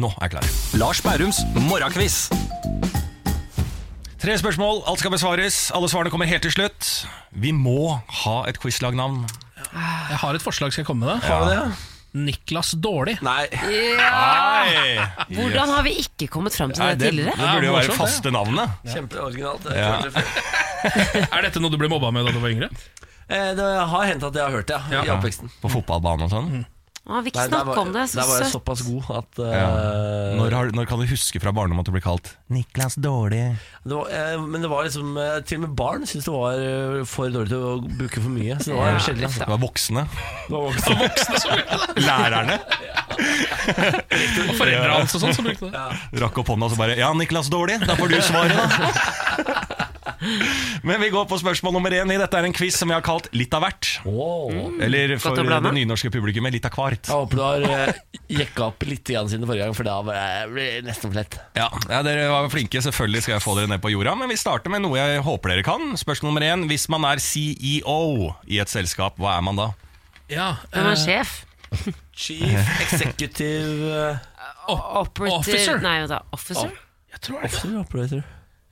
Nå er jeg klar. Lars Bærums morgenkviss. Tre spørsmål, alt skal besvares. Alle svarene kommer helt til slutt. Vi må ha et quizlagnavn. Jeg har et forslag, skal jeg komme med det? Har du det? Niklas Dårlig. Nei. Hvordan har vi ikke kommet fram til Nei, det, det, det tidligere? burde jo Ja, være morsomt, faste navnet. Kjempeoriginalt. det. Ja. Er dette noe du ble mobba med da du var yngre? Eh, Det har hendt at jeg har hørt det ja, i oppveksten. På fotballbanen og Mm. sånn. Å, vi ikke Nei, der snakke var- om det. Så Der var jeg søtt. såpass god at eh, Når, har, når kan du huske fra barndommen at du ble kalt Niklas Dårlig? det var, eh, Men det var liksom eh, Til og med barn syntes det var eh, for dårlig til å bruke for mye. Så det var sjelden. Det var voksne. altså. Lærerne Og foreldra hans og sånn som brukte det. rakk opp hånda og så bare Ja, Niklas Dårlig, da får du svaret, da. Men vi går på spørsmål nummer én. i. Dette er en quiz som jeg har kalt Litt av hvert. Wow. Eller for å blande. det nynorske publikummet, litt av hvert. Jeg håper du har eh, jekka opp litt igjen siden forrige gang, for da ble jeg ble jeg nesten for lett. Ja, ja, Dere var flinke, selvfølgelig skal jeg få dere ned på jorda. Men vi starter med noe jeg håper dere kan. Spørsmål nummer én. Hvis man er CEO i et selskap, hva er man da? Ja, eh, Hvem er sjef? Chief executive eh, Operative officer. Nei, vent da. Officer? jeg tror det. officer, operator.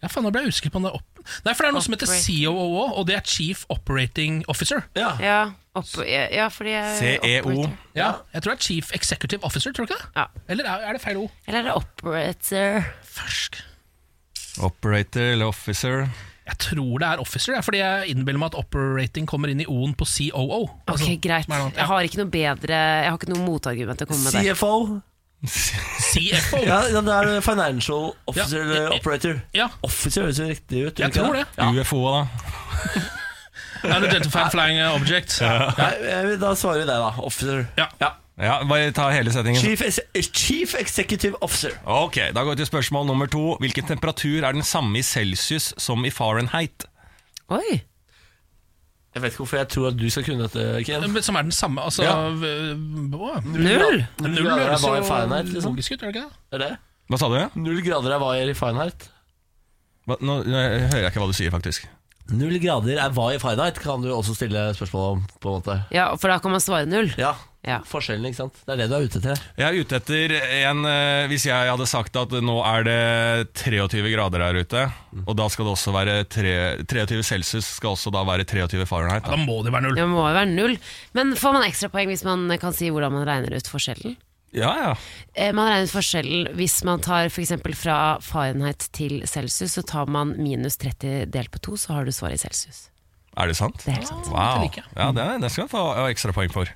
Ja, faen, da ble jeg usikker på om det er opp... Nei, for det er noe som heter Operate. COO, og det er Chief Operating Officer. Ja. Ja, opp, ja, fordi jeg CEO. Eh, operator. Ja, jeg tror det er Chief Executive Officer, tror du ikke det? Ja. Eller er, er det feil ord? Eller er det operator? Fersk. Operator eller officer? Jeg tror det er officer, jeg, fordi jeg innbiller meg at operating kommer inn i O-en på COO. Ok, Altså, greit. som er noe annet. E Jeg har ikke noe bedre Jeg har ikke noe motargument å komme med der. CFO. CFO. Ja, ja, det er financial officer Ja. eller operator. Ja, Officer høres jo riktig ut. gjør jeg ikke tror det. UFO, da. Identify flying uh, object. Nei, eh, da svarer vi deg, da. Officer. Ja. Ja, Bare ta hele setningen. Chief, ex- Chief Executive Officer. Ok, Da går vi til spørsmål nummer to. Hvilken temperatur er den samme i celsius som i Fahrenheit? Oi! Jeg vet ikke hvorfor jeg tror at du skal kunne dette, Ken. Som er den samme, altså Ja. v- hva? Null! Null grader er høres hva i Fahrenheit, jo liksom. logisk ut, gjør det ikke det? Er det? Hva sa du? Null grader er hva i Fahrenheit? Hva, nå nå hører jeg ikke hva du sier, faktisk. Null grader er hva i Fahrenheit, kan du også stille spørsmål om, på en måte. Ja, for da kan man svare null. Ja, Ja. forskjellen, ikke sant. Det er det du er ute etter. Jeg er ute etter en eh, Hvis jeg hadde sagt at nå er det 23 grader her ute, og da skal det også være tre, 23 celsius, skal også da være 23 Fahrenheit. Da. Da må det være null. Det må jo være null. Men får man ekstrapoeng hvis man kan si hvordan man regner ut forskjellen? Ja, ja. Eh, Man regner ut forskjellen hvis man tar f.eks. fra Fahrenheit til celsius, så tar man minus 30 delt på to, så har du svaret i celsius. Er det sant? Det er helt sant. Wow. Det liker jeg. Ja, det, eh? det skal du få ekstra poeng for.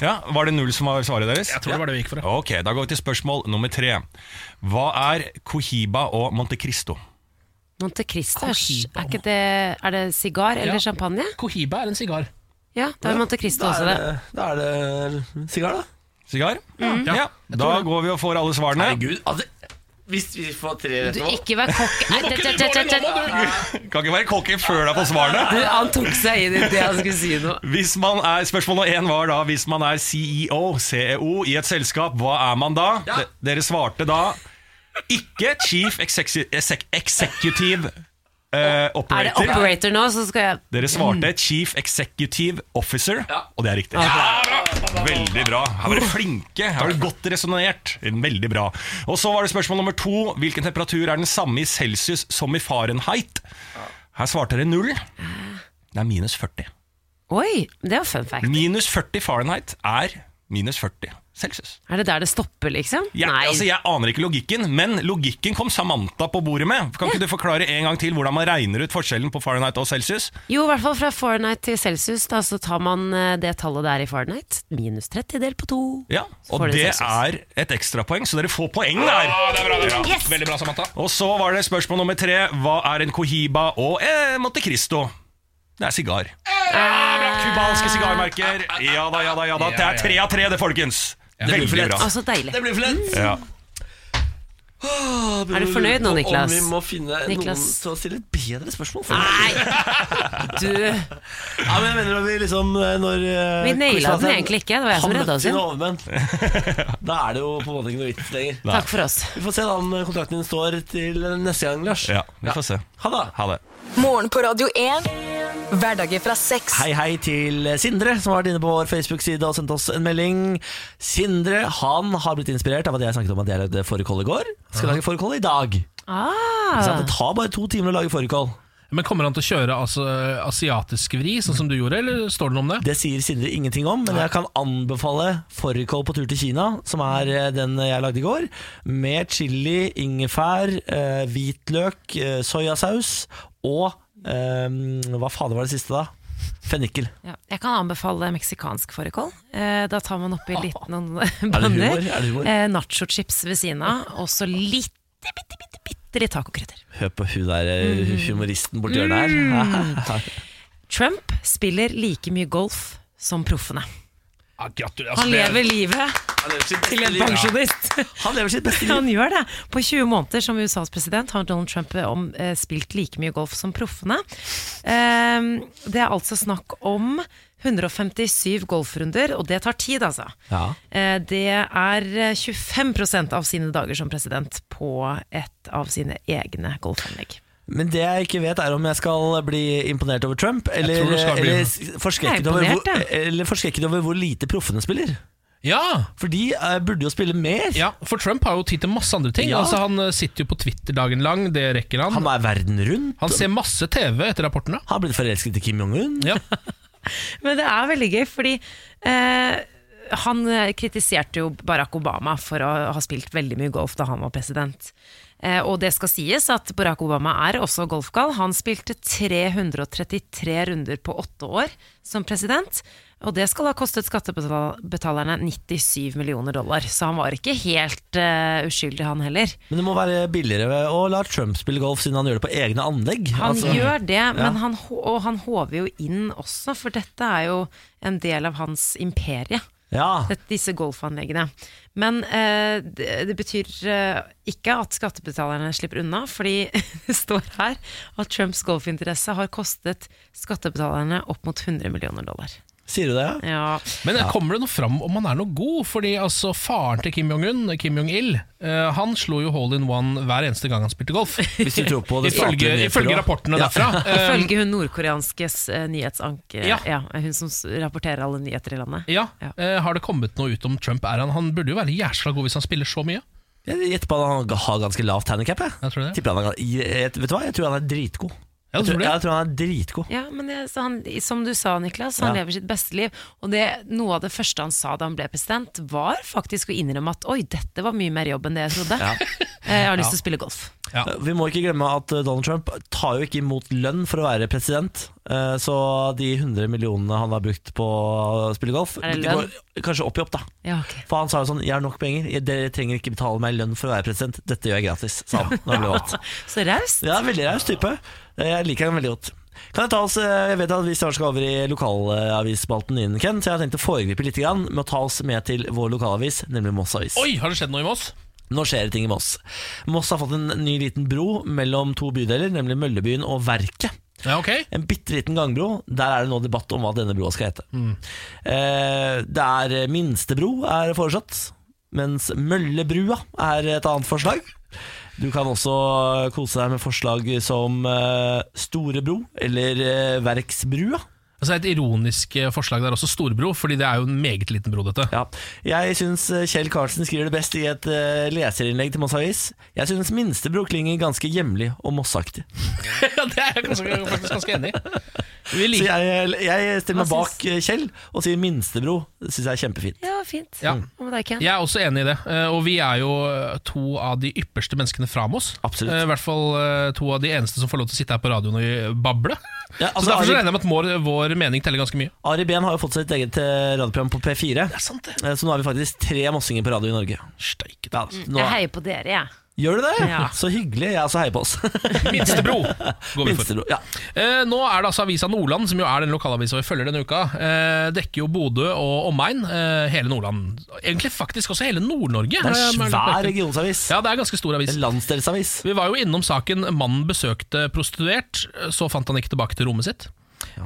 Ja, var det null som var svaret deres? Jeg tror det var det vi gikk for. ja. Ok, da går vi til spørsmål nummer tre. Hva er Cohiba og Monte Cristo? Monte Cristo, Cohiba. er ikke det Er det sigar eller Ja. champagne? Cohiba er en sigar. Ja, da er Monte Cristo Da også er det. det, da er det sigar, da. Sigar? Mm. Ja. Da går vi og får alle svarene. Herregud, altså, Hvis vi får tre Du, ikke vær kokk... Nei, det- det- det- det- det- Kan ikke være kokken før du er på svarene. Du, han tok seg inn i det han skulle si nå. Hvis man er, spørsmål nummer én var da hvis man er E CEO, CEO i et selskap, hva er man da? De- Dere svarte da ikke Chief Execu- Exec- Executive eh, Er det Operator. operator nå, så skal jeg Dere svarte Chief Executive Officer, og det er riktig. bra. Veldig bra. Her var dere flinke. Her var det godt resonnert. Veldig bra. Og så var det spørsmål nummer to. Hvilken temperatur er den samme i celsius som i Fahrenheit? Her svarte dere null. Det er minus 40. Oi, det var fun fact. Minus 40 Fahrenheit er minus 40 celsius. Er det der det stopper, liksom? Jeg, altså, jeg aner ikke logikken, men logikken kom Samantha på bordet med. Kan ikke du forklare en gang til hvordan man regner ut forskjellen på Fahrenheit og celsius? Jo, i hvert fall fra Fahrenheit til Celsius, da, så tar man eh, det tallet der i Fahrenheit. Minus 30 delt på to. Ja, Så og får du det celsius. er et ekstrapoeng, så dere får poeng der. Yes! Veldig bra, Samantha. Og så var det spørsmål nummer tre. Hva er en cohiba og eh, Monte Cristo? Det er sigar. Eh, Cubanske sigarmerker. Ja da, ja da, ja da. Det er tre av tre, det, folkens. Veldig bra. Altså, deilig. Det blir for lett. Ja. Er du fornøyd nå, Niklas? Om vi må finne noen Niklas? til å stille et bedre spørsmål for Du Ja, men jeg mener når vi liksom eh, når, eh, Vi naila quizmaster- den egentlig ikke, det var jeg som Han redda møtte oss sine <laughs> igjen. overmenn. Da er det jo på en måte ikke noe vits lenger. Takk for oss. Vi får se da om eh, kontrakten din står til neste gang, Lars. ja, vi får se. Ha det. Ha det. Morgen på Radio 1. Hverdager fra seks. Hei, hei til Sindre, som har vært inne på vår Facebook-side og sendt oss en melding. Sindre han har blitt inspirert av at jeg snakket om at jeg lagde fårikål i går. Skal lage fårikål i dag. Så Ah, Det tar bare to timer å lage fårikål. Men Kommer han til å kjøre altså, asiatisk vri, sånn som du gjorde, eller står det noe om det? Det sier Sindre ingenting om, men jeg kan anbefale fårikål på tur til Kina, som er eh, den jeg lagde i går, med chili, ingefær, eh, hvitløk, eh, soyasaus og eh, Hva fader var det siste, da? Fennikel. ja. Jeg kan anbefale meksikansk fårikål. Eh, da tar <laughs> man oppi litt noen <laughs> Er det humor? bønner. Er det humor? Eh, Nachochips ved siden <laughs> av, og så litt, bitte, bitte, bitte litt tacokrydder. Hør på hun der eh, humoristen borti hjørnet her. <laughs> Trump spiller like mye golf som proffene. Ah, gratulerer, altså, Han det- lever livet til en pensjonist. <laughs> Han lever sitt beste liv. <laughs> Han gjør det. På 20 måneder som USAs president har Donald Trump eh, om, eh, spilt like mye golf som proffene. Ehm, det er altså snakk om 157 golfrunder, og det tar tid, altså. Ja. Eh, det er eh, 25 av sine dager som president på et av sine egne golfanlegg. Men det jeg ikke vet, er om jeg skal bli imponert over Trump, eller, tror du skal bli- eller s- forskrekket Jeg er over, imponert, hvor- jeg. eller forskrekket over hvor lite proffene spiller. Ja, For de eh, burde jo spille mer. ja, for Trump har jo tid til masse andre ting. Ja. Altså, han eh, sitter jo på Twitter dagen lang, det rekker han. Han er verden rundt. Han ser masse TV etter rapportene. Har blitt forelsket i Kim Jong-un. Ja. Men det er veldig gøy, fordi eh, han eh, kritiserte jo Barack Obama for å ha spilt veldig mye golf da han var president. Eh, og det skal sies at Barack Obama er også golfgal. Han spilte 333 runder på åtte år som president. Og det skal ha kostet skattebetalerne 97 millioner dollar, så han var ikke helt eh, uskyldig, han heller. Men det må være billigere å la Trump spille golf, siden han gjør det på egne anlegg. Han Altså, gjør det, men han, hå- og han håver jo inn også, for dette er jo en del av hans imperie. Ja, Dette- disse golfanleggene. Men eh, det, det betyr eh, ikke at skattebetalerne slipper unna, fordi <laughs> det står her at Trumps golfinteresse har kostet skattebetalerne opp mot 100 millioner dollar. sier du det? ja? Ja. <laughs> Men eh, kommer det noe fram om han er noe god? Fordi altså, faren til Kim Jong-un, Kim Jong-il, eh, han slo jo hole in one hver eneste gang han spilte golf. Hvis du tror på det Ifølge, statlige ifølge nyhetsbyrået. rapportene Ja. derfra. Eh, Ifølge hun nordkoreanskes eh, nyhetsanker, Ja. ja. hun som s- rapporterer alle nyheter i landet. ja, Ja. eh, Har det kommet noe ut om Trump? Er han, han burde jo være jæsla god hvis han spiller så mye. Jeg gjetter på at han har ganske lavt handikap. Jeg. Jeg tror det. Tipper han er, jeg, vet du hva? jeg tror han er dritgod. Ja, jeg, du tror tror, det? jeg tror han er dritgod. Ja, men jeg, så han, som du sa, Niklas, han Ja. lever sitt beste liv. Og det, noe av det første han sa da han ble president, var faktisk å innrømme at oi, dette var mye mer jobb enn det jeg trodde. <laughs> Eh, Jeg har lyst til å spille golf. Ja. Vi må ikke glemme at eh, Donald Trump tar jo ikke imot lønn for å være president. eh, Så de 100 millionene han har brukt på å spille golf, Er det de lønn? går kanskje opp i opp, da. Ja, ok. For han sa jo sånn 'Jeg har nok penger, Jeg- dere trenger ikke betale meg lønn for å være president. Dette gjør jeg gratis', sa han. Når han ble valgt. Så raust. Ja, veldig raus type. Eh, Jeg liker han veldig godt. Kan jeg ta oss, eh, jeg vet at vi snart skal over i lokalavisspalten din, Ken, så jeg har tenkt å foregripe litt grann med å ta oss med til vår lokalavis, nemlig Moss Avis. Oi, har det skjedd noe i Moss? Nå skjer det ting i Moss. Moss har fått en ny liten bro mellom to bydeler, nemlig Møllebyen og Verket. En bitte liten gangbro. Der er det nå debatt om hva denne broa skal hete. Eh, det er minstebro er foreslått, mens Møllebrua er et annet forslag. Du kan også kose deg med forslag som eh, Storebro eller eh, Verksbrua. Altså Et ironisk eh, forslag der også, Storbro, fordi det er jo en meget liten bro, dette. Ja. Jeg syns eh, Kjell Karlsen skriver det best i et eh, leserinnlegg til Moss Avis. Jeg synes minstebro klinger ganske hjemlig og mossaktig. <laughs> det er jeg kanskje- faktisk ganske enig i. Så jeg, jeg stiller meg Hva bak eh, Kjell og sier minstebro. Det syns jeg er kjempefint. Ja, fint. Ja. Hva med deg, Ken? Jeg er også enig i det, eh, og vi er jo eh, to av de ypperste menneskene fra Moss. Absolutt. Eh, I hvert fall eh, to av de eneste som får lov til å sitte her på radioen og bable. Ja, altså, så Derfor så Ari- regner jeg med at vår, vår mening teller ganske mye. Ari Behn har jo fått sitt eget eh, radioprogram på P4. er sant, det. Eh, Så nå har vi faktisk tre mossinger på radio i Norge. Steike Ja, nå, Mm. Jeg heier på dere, jeg. gjør du det? Ja. Så hyggelig. Jeg også heier på oss. <laughs> Minstebro går vi for. Minstebro. Ja. Eh, nå er det altså Avisa Nordland, som jo er den lokalavisa vi følger denne uka. Eh, dekker jo Bodø og omegn. Eh, hele Nordland. Egentlig faktisk også hele Nord-Norge. Det er Eh, en men- svær regionsavis. Ja, det er en ganske stor avis. En landsdelsavis. Vi var jo innom saken mannen besøkte prostituert, så fant han ikke tilbake til rommet sitt.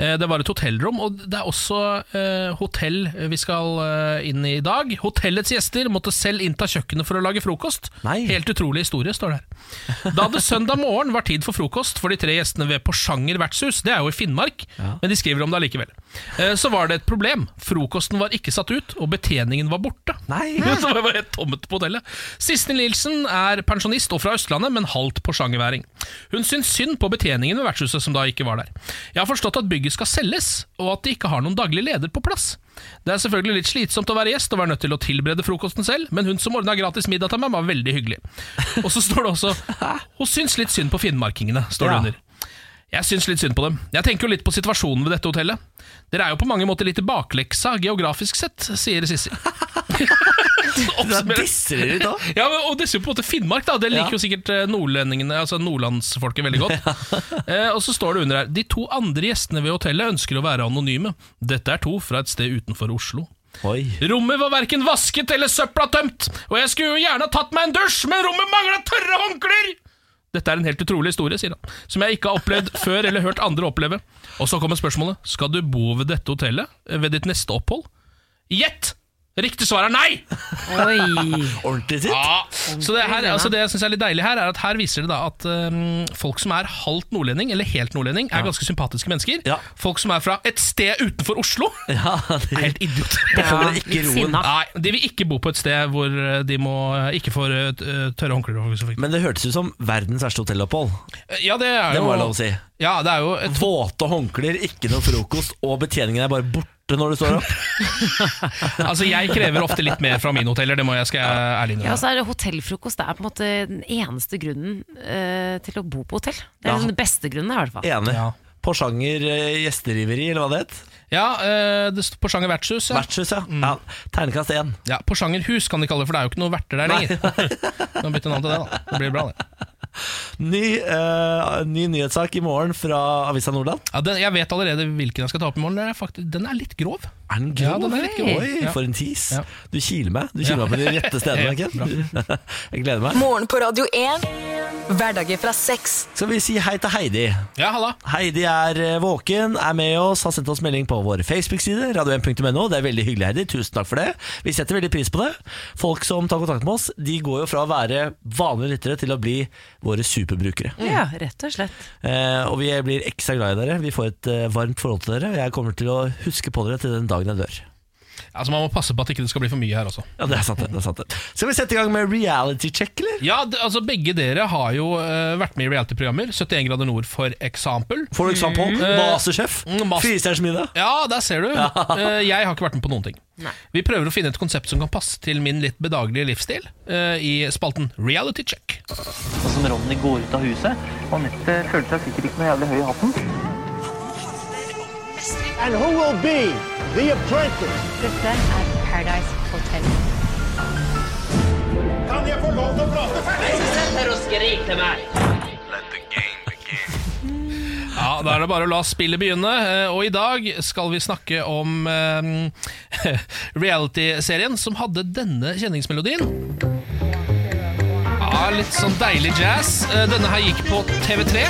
Eh, Det var et hotellrom, og det er også eh, hotell vi skal eh, inn i i dag. Hotellets gjester måtte selv innta kjøkkenet for å lage frokost. Nei. Helt utrolig historie, står det her. Da det søndag morgen var tid for frokost for de tre gjestene ved Porsanger vertshus, det er jo i Finnmark, men de skriver om det allikevel, eh, så var det et problem. Frokosten var ikke satt ut, og betjeningen var borte. Nei. <laughs> Så det var helt tomt på hotellet. Siste Nilsen er pensjonist og fra Østlandet, men halvt porsangerværing. Hun syns synd på betjeningen ved vertshuset, som da ikke var der. Jeg har forstått at bygget skal selges, og at de ikke har noen daglig leder på plass. Det er selvfølgelig litt slitsomt å være gjest og være nødt til å tilberede frokosten selv, men hun som ordna gratis middag til meg, var veldig hyggelig. Og så står det også Hun syns litt synd på finnmarkingene, står Ja. det under. Jeg syns litt synd på dem. Jeg tenker jo litt på situasjonen ved dette hotellet. Dere er jo på mange måter litt i bakleksa geografisk sett, sier <laughs> Sissel. Du disser dere litt òg. Ja, men, og dessuten på en måte Finnmark, da. Det liker Ja. jo sikkert eh, nordlendingene, altså nordlandsfolket veldig <laughs> godt. eh, og så står det under her De to andre gjestene ved hotellet ønsker å være anonyme. Dette er to fra et sted utenfor Oslo. Oi. Rommet var verken vasket eller søpla tømt, og jeg skulle jo gjerne ha tatt meg en dusj, men rommet mangla tørre håndklær! Dette er en helt utrolig historie, sier han, som jeg ikke har <laughs> opplevd før eller hørt andre oppleve. Og så kommer spørsmålet, skal du bo ved dette hotellet eh, ved ditt neste opphold? Gjett! Riktig svar er nei! Oi. Ordentlig sitt. Ja, så Ah, det, her, altså det jeg synes er litt deilig her, er at her viser det da at um, folk som er halvt nordlending, eller helt nordlending, er ganske sympatiske mennesker. Ja. Folk som er fra et sted utenfor Oslo, Ja, er det, helt idioter. <laughs> det holder Ja, ikke litt roen. sinna. Nei, de vil ikke bo på et sted hvor eh, de må eh, ikke får eh, t- eh, tørre håndklær. for eksempel. Men det hørtes ut som verdens verste hotellopphold. Eh, Ja, det er Det jo må jeg lov å si. Ja, det er jo <laughs> et Våte håndklær, ikke noe frokost, og betjeningen er bare borte når du står opp. Altså, jeg krever ofte litt mer fra mine hoteller, det må jeg skal jeg ærlig Ja, og innrømme. så er det hotellfrokost. Det er på en måte den eneste grunnen eh, til å bo på hotell. Det er Ja. liksom den beste grunnen, i hvert fall. Enig. Ja. Porsanger eh, gjesteriveri, eller hva det het. Ja, eh, det står Porsanger vertshus. Ja. Vertshus, ja. ja. Ternekast én. Ja, Porsanger hus kan de kalle det, for det er jo ikke noen verter der lenger. Nå bytter navn til det, da. Det blir bra, det. Ny, eh, ny nyhetssak i morgen fra Avisa Nordland. Ja, den, jeg vet allerede hvilken jeg skal ta opp i morgen. Den er, faktisk, den er litt grov. Er den Ja, grov? den er litt grov. Oi, Ja. for en tease. Ja. Du kiler meg Du kiler meg på de rette stedene. <laughs> Ken. <laughs> Jeg gleder meg. Morgen på Radio 1. Hverdager fra seks. Skal vi si hei til Heidi? Ja, halla. Heidi er eh, våken, er med oss, har sendt oss melding på vår Facebook-side, radio1.no. Det er veldig hyggelig, Heidi. Tusen takk for det. Vi setter veldig pris på det. Folk som tar kontakt med oss, de går jo fra å være vanlige lyttere til å bli våre superbrukere. Ja, rett og slett. Eh, og vi blir ekstra glad i dere. Vi får et eh, varmt forhold til dere. og Jeg kommer til å huske på dere til den dagen jeg dør. Altså, Man må passe på at ikke det skal bli for mye her også. Ja, det er sant det. det, er sant det. Skal vi sette i gang med reality check, eller? Ja, det, altså Begge dere har jo eh, vært med i reality-programmer. 71 grader nord, for eksempel. For eksempel Masterchef. Mm, Master- Firestjerners middag. Ja, der ser du. Eh, jeg har ikke vært med på noen ting. Vi prøver å finne et konsept som kan passe til min litt bedagelige livsstil, eh, i spalten Reality check. Og som Ronny går ut av huset. Anette føler seg sikkert ikke noe jævlig høy i hatten. Ja, Ja, Da er det bare å la spillet begynne. eh, Og i dag skal vi snakke om eh, <laughs> reality-serien som hadde denne kjenningsmelodien. Ja, Litt sånn deilig jazz. Eh, Denne her gikk på TV3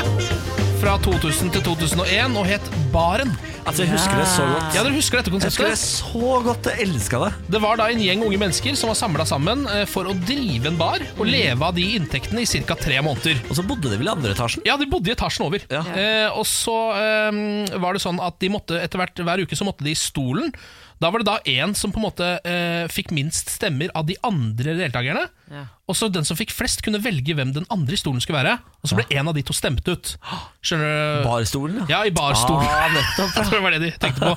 fra 2000 til 2001 og het Baren. Altså, jeg husker det så godt. Ja, Dere husker dette konseptet? Jeg husker det så godt, jeg elska det. Det var da en gjeng unge mennesker som var samla sammen eh, for å drive en bar og leve av de inntektene i ca. tre måneder. Og så bodde de vel i andre etasjen? Ja, de bodde i etasjen over. Eh, og så eh, var det sånn at de måtte etter hvert hver uke så måtte de i stolen. Da var det da én som på en måte eh, fikk minst stemmer av de andre deltakerne. Ja. Og så den som fikk flest, kunne velge hvem den andre i stolen skulle være. Og så ble en av de to stemt ut. Skjønner du? Barstolen, ja. i barstolen. Ah, nettopp, ja. Jeg tror det var det de tenkte på.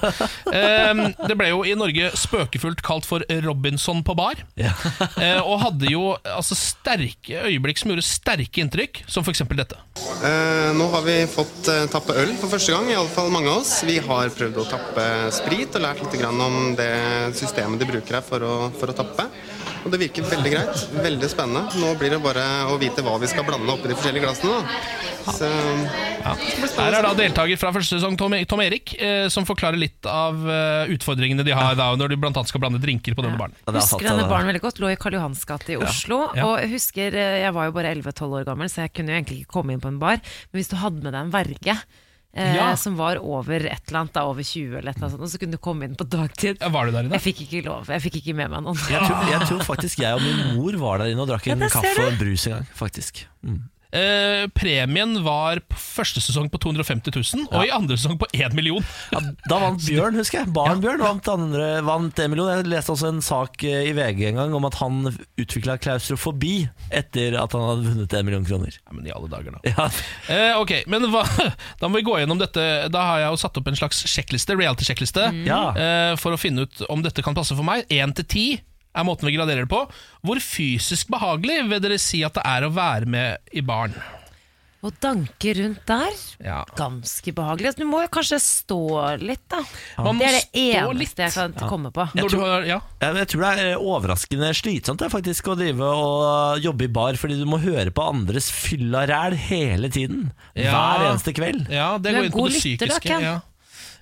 Ehm, det ble jo i Norge spøkefullt kalt for Robinson på bar. Eh, og hadde jo altså, sterke øyeblikk som gjorde sterke inntrykk, som f.eks. dette. Eh, nå har vi fått eh, tappe øl for første gang, iallfall mange av oss. Vi har prøvd å tappe sprit og lært litt grann om det systemet de bruker her for å, for å tappe. Og det virker veldig greit. Veldig spennende. Nå blir det bare å vite hva vi skal blande oppi de forskjellige glassene, da. Så Her er da deltaker fra første sesong, Tom, Tom Erik, eh, som forklarer litt av eh, utfordringene de har da, når de bl.a. skal blande drinker på denne baren. husker denne baren veldig godt. Lå i Karl Johans gate i Ja. Oslo. Ja. Og jeg husker, eh, jeg var jo bare 11-12 år gammel, så jeg kunne jo egentlig ikke komme inn på en bar. Men hvis du hadde med deg en verge eh, Ja. som var over et eller annet, da, over 20 eller et eller annet sånt, og så kunne du komme inn på dagtid. var du der inne? Jeg fikk ikke lov. Jeg fikk ikke med meg noen. Jeg tror, jeg tror faktisk jeg og min mor var der inne og drakk Ja, en der ser kaffe du. og en brus en gang. faktisk mm. Eh, premien var på første sesong på 250 000, og i andre sesong på 1 million. Da vant Bjørn, husker jeg. Baren Bjørn vant, andre, vant en million. Jeg leste også en sak eh, i VG en gang om at han utvikla klaustrofobi etter at han hadde vunnet en million kroner. Ja, men i alle dager da ja. Eh, ok, men hva, <laughs> da må vi gå gjennom dette Da har jeg jo satt opp en slags sjekkliste, reality-sjekkliste Mm. Ja. eh, For å finne ut om dette kan passe for meg 1 til 10 er måten vi graderer det på Hvor fysisk behagelig vil dere si at det er å være med i barn? Å danke rundt der, Ja. ganske behagelig. Altså, Du må jo kanskje stå litt, da. Man må Det er det stå eneste jeg kan komme på. Jeg tror, ja. men jeg tror det er eh, overraskende slitsomt det, er faktisk å drive og eh, jobbe i bar, fordi du må høre på andres fylla ræl hele tiden. Ja. Hver eneste kveld. Ja, det går inn på det psykiske ja.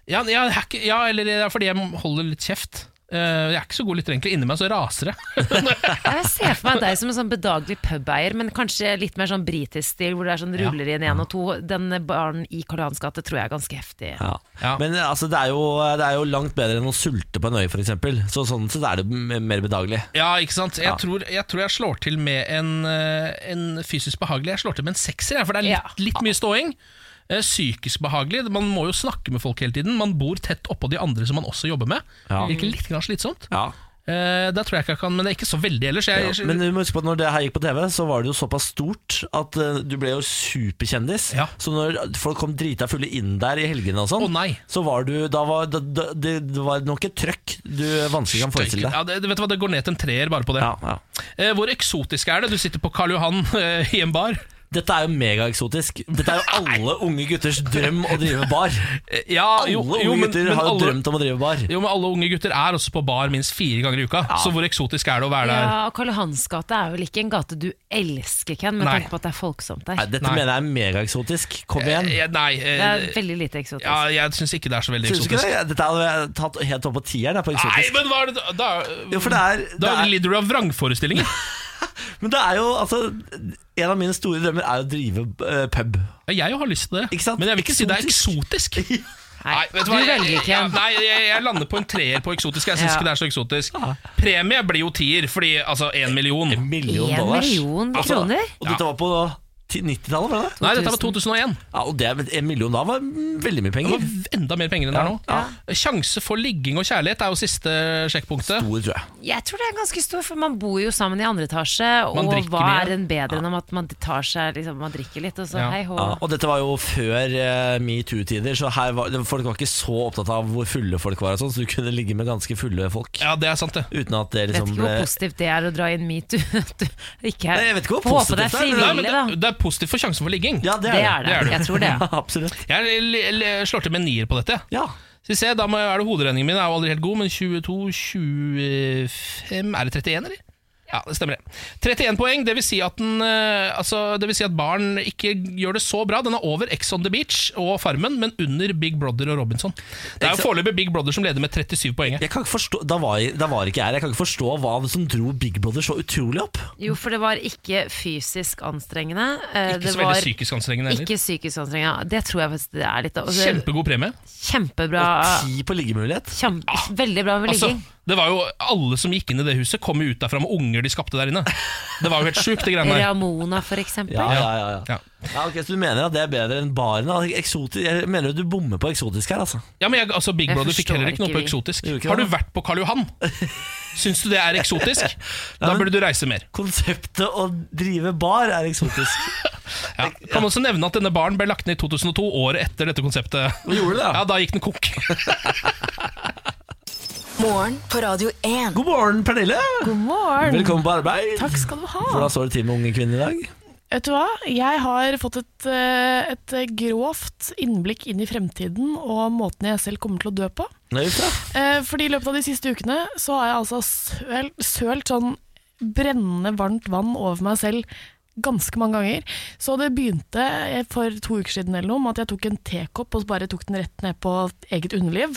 Ja, ja, jeg er ikke- ja, eller det er fordi jeg holder litt kjeft Eh, Jeg er ikke så god lytter egentlig Inni meg så <laughs> raser jeg Jeg ser for meg deg som en sånn bedagelig pubeier, men kanskje litt mer sånn britisk stil, hvor det er sånn Ja. ruller inn én og to. Den baren i Karl Johans gate tror jeg er ganske heftig. Ja. Men altså, det, er jo, det er jo langt bedre enn å sulte på en øy, f.eks. Så sånn sett er det m- mer bedagelig. Ja, ikke sant? Jeg, Ja. Tror, jeg tror jeg slår til med en, eh, en fysisk behagelig Jeg slår til med en sekser, jeg, for det er litt, litt mye ståing Eh, Psykisk behagelig Man må jo snakke med folk hele tiden Man bor tett oppå de andre som man også jobber med Ja. Virker litt grann slitsomt Ja. Eh, Der tror jeg ikke jeg kan, men det er ikke så veldig ellers jeg, Ja, men du må huske på at når det her gikk på TV, så var det jo såpass stort at eh, du ble jo superkjendis. Så når folk kom drita fulle inn der i helgene og sånn, så var du Da var da, da, det, det var nok et trøkk du vanskelig kan forestille deg. Ja, det, vet du hva, det går ned til en treer bare på det Eh, Hvor eksotisk er det? Du sitter på Karl Johan eh, i en bar Dette er jo megaeksotisk. Dette er jo alle unge gutters drøm å drive bar. Ja, Eh, alle <laughs> jo- unge jo, men- gutter men har jo alle- drømt om å drive bar. Jo, men alle unge gutter er også på bar minst fire ganger i uka Så hvor eksotisk er det å være der? Ja, og Karl Johans gate er vel ikke en gate du elsker, Ken, med Nei. tanke på at det er folksomt Nei, der. dette mener jeg er megaeksotisk. Kom igjen. Eh, Nei, eh, Det er veldig lite eksotisk. Ja, jeg syns ikke det er så veldig Synes du ikke eksotisk. det? Dette hadde jeg tatt helt opp på tieren. da, på Nei, eksotisk. men hva er det da- Da, Jo, for det er, da det er- lider du av vrangforestillinger. Men det er jo altså En av mine store drømmer er å drive eh, pub. Jeg har lyst til det, men jeg vil ikke si det er eksotisk. Nei, vet du jeg- velger ikke jeg- en. Nei, jeg, jeg lander på en treer på eksotisk. Jeg syns Ja. ikke det er så eksotisk. Premie blir jo tier, fordi altså én million. En million En dollars? million kroner? og dette var på 90-tallet, var det det? Nei, dette var 2001. Ja, og det, er- En million da var mm, veldig mye penger. Det var enda mer penger enn det er nå. Sjanse for ligging og kjærlighet er jo siste sjekkpunktet. Stor, tror jeg. Jeg tror det er ganske stor, for man bor jo sammen i andre etasje, Man og drikker hva mye. er en bedre enn om at man tar seg liksom, Man drikker litt, og så hei hå. Ja, og dette var jo før eh, metoo-tider, så her var, folk var ikke så opptatt av hvor fulle folk var. Og sånn, så du kunne ligge med ganske fulle folk. Ja, det er sant det Uten at det Vet liksom ikke ble hvor positivt det er å dra inn metoo. <laughs> Du- ikke- Nei, jeg vet ikke hvor Håper det er positivt det er, men- Nei, men frivillig, da. det, det er positivt for sjansen for ligging. Ja, det er Det det. er det. Jeg tror <laughs> det. Absolutt. Jeg l- l- slår til med en nier på dette. Ja. Skal vi se, da må jeg- er det Hoderegningen min er jo aldri helt god, men 22, 25 Er det 31, eller? Ja, det stemmer det. 31 poeng, det vil, si at den, eh, altså, det vil si at barn ikke gjør det så bra. Den er over Ex on the Beach og Farmen, men under Big Brother og Robinson. Det er jo foreløpig Big Brother som leder med 37 poeng. her. Jeg kan ikke forstå, da, var, jeg- da var ikke jeg her. Jeg kan ikke forstå hva som dro Big Brother så utrolig opp. Jo, for det var ikke fysisk anstrengende. eh, Ikke det så var veldig psykisk anstrengende heller. Ikke psykisk anstrengende. Det tror jeg faktisk det er litt. altså, Kjempegod premie. Kjempebra. Gi på liggemulighet. Kjem, veldig bra med Altså, ligging. det var jo Alle som gikk inn i det huset, kom jo ut derfra med unger de skapte der inne. Det var jo helt sjukt, det <laughs> greiene der. Ramona, for eksempel. Ja, ja, ja, ja. Ja, ok, så du mener at det er bedre enn baren? da? Eksoti- jeg mener at du bommer på eksotisk her, altså. Ja, men jeg, altså, Big Jeg Brother fikk forstår heller ikke noe ikke på vi. eksotisk. Gjorde ikke Har du det? vært på Karl <laughs> Johan? Syns du det er eksotisk? Da burde du reise mer. Konseptet å drive bar er eksotisk. Ja. Kan også nevne at denne baren ble lagt ned i 2002, året etter dette konseptet. ja? Da gikk den konk. Morgen på Radio 1. God morgen, Pernille. God morgen. Velkommen på arbeid. Takk skal du ha. Hvordan står det til med unge kvinner i dag? Vet du hva? Jeg har fått et, eh, et grovt innblikk inn i fremtiden og måten jeg selv kommer til å dø på. Eh, Fordi i løpet av de siste ukene så har jeg altså sølt, sølt sånn brennende varmt vann over meg selv ganske mange ganger. Så det begynte eh, for to uker siden eller noe med at jeg tok en tekopp og bare tok den rett ned på eget underliv.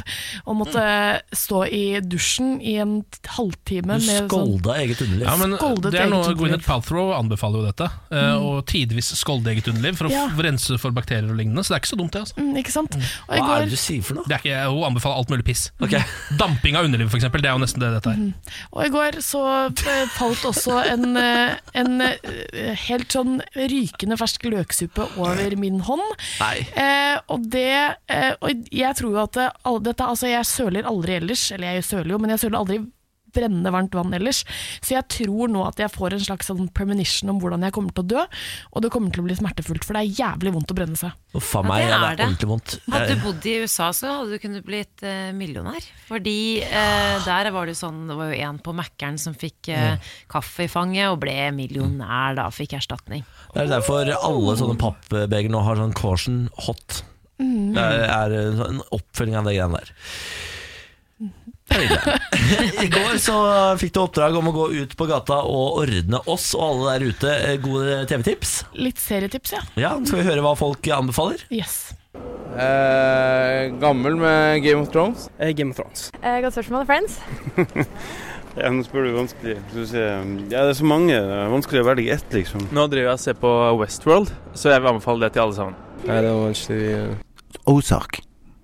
Og måtte eh, stå i dusjen i en t- halvtime Du med sånn skolda eget underliv. <laughs> Ja, men Skoldet det er noe eget underliv. Gwyneth Palthrow anbefaler jo dette. eh, Og tidvis skolde eget underliv for å Ja. f- rense for bakterier og lignende. Så det er ikke så dumt, det. altså Mm, ikke sant? Og Hva i er går- det du sier for noe? Det er ikke, hun anbefaler alt mulig piss. <laughs> Damping av underliv, for eksempel. Det er jo nesten det dette er. Og i går så eh, falt også en, eh, en eh, helt sånn rykende fersk løksuppe over min hånd. Nei. Eh, og det eh, Og jeg tror jo at det, all, dette Altså, jeg søler aldri ellers. Eller jeg søler jo, men jeg søler aldri brennende varmt vann ellers. Så jeg tror nå at jeg får en slags sånn premonition om hvordan jeg kommer til å dø. Og det kommer til å bli smertefullt, for det er jævlig vondt å brenne seg. Uff a Ja, meg, det det er er det. ordentlig vondt. Hadde Jeg- du bodd i USA, så hadde du kunnet blitt eh, millionær. Fordi Ah. eh, der var det jo sånn Det var jo en på Mækkern som fikk eh, kaffe i fanget og ble millionær da, fikk erstatning. Det er derfor alle sånne pappbeger nå har sånn caution hot. Mm. Det er eh, sånn en oppfølging av det greiene der. Pernille, <laughs> I går så fikk du oppdrag om å gå ut på gata og ordne oss og alle der ute eh, gode TV-tips. Litt serietips, ja. Ja, Skal vi høre hva folk anbefaler? Yes. gammel med Game of Thrones. Game of Thrones. Eh, Godt spørsmål, Friends. Ja, nå spør du vanskelig. Skal vi se. Ja, det er så mange. Det er vanskelig å velge ett, liksom. Nå driver jeg og ser på Westworld, så jeg vil anbefale det til alle sammen. Nei, det var vanskelig. Ozark.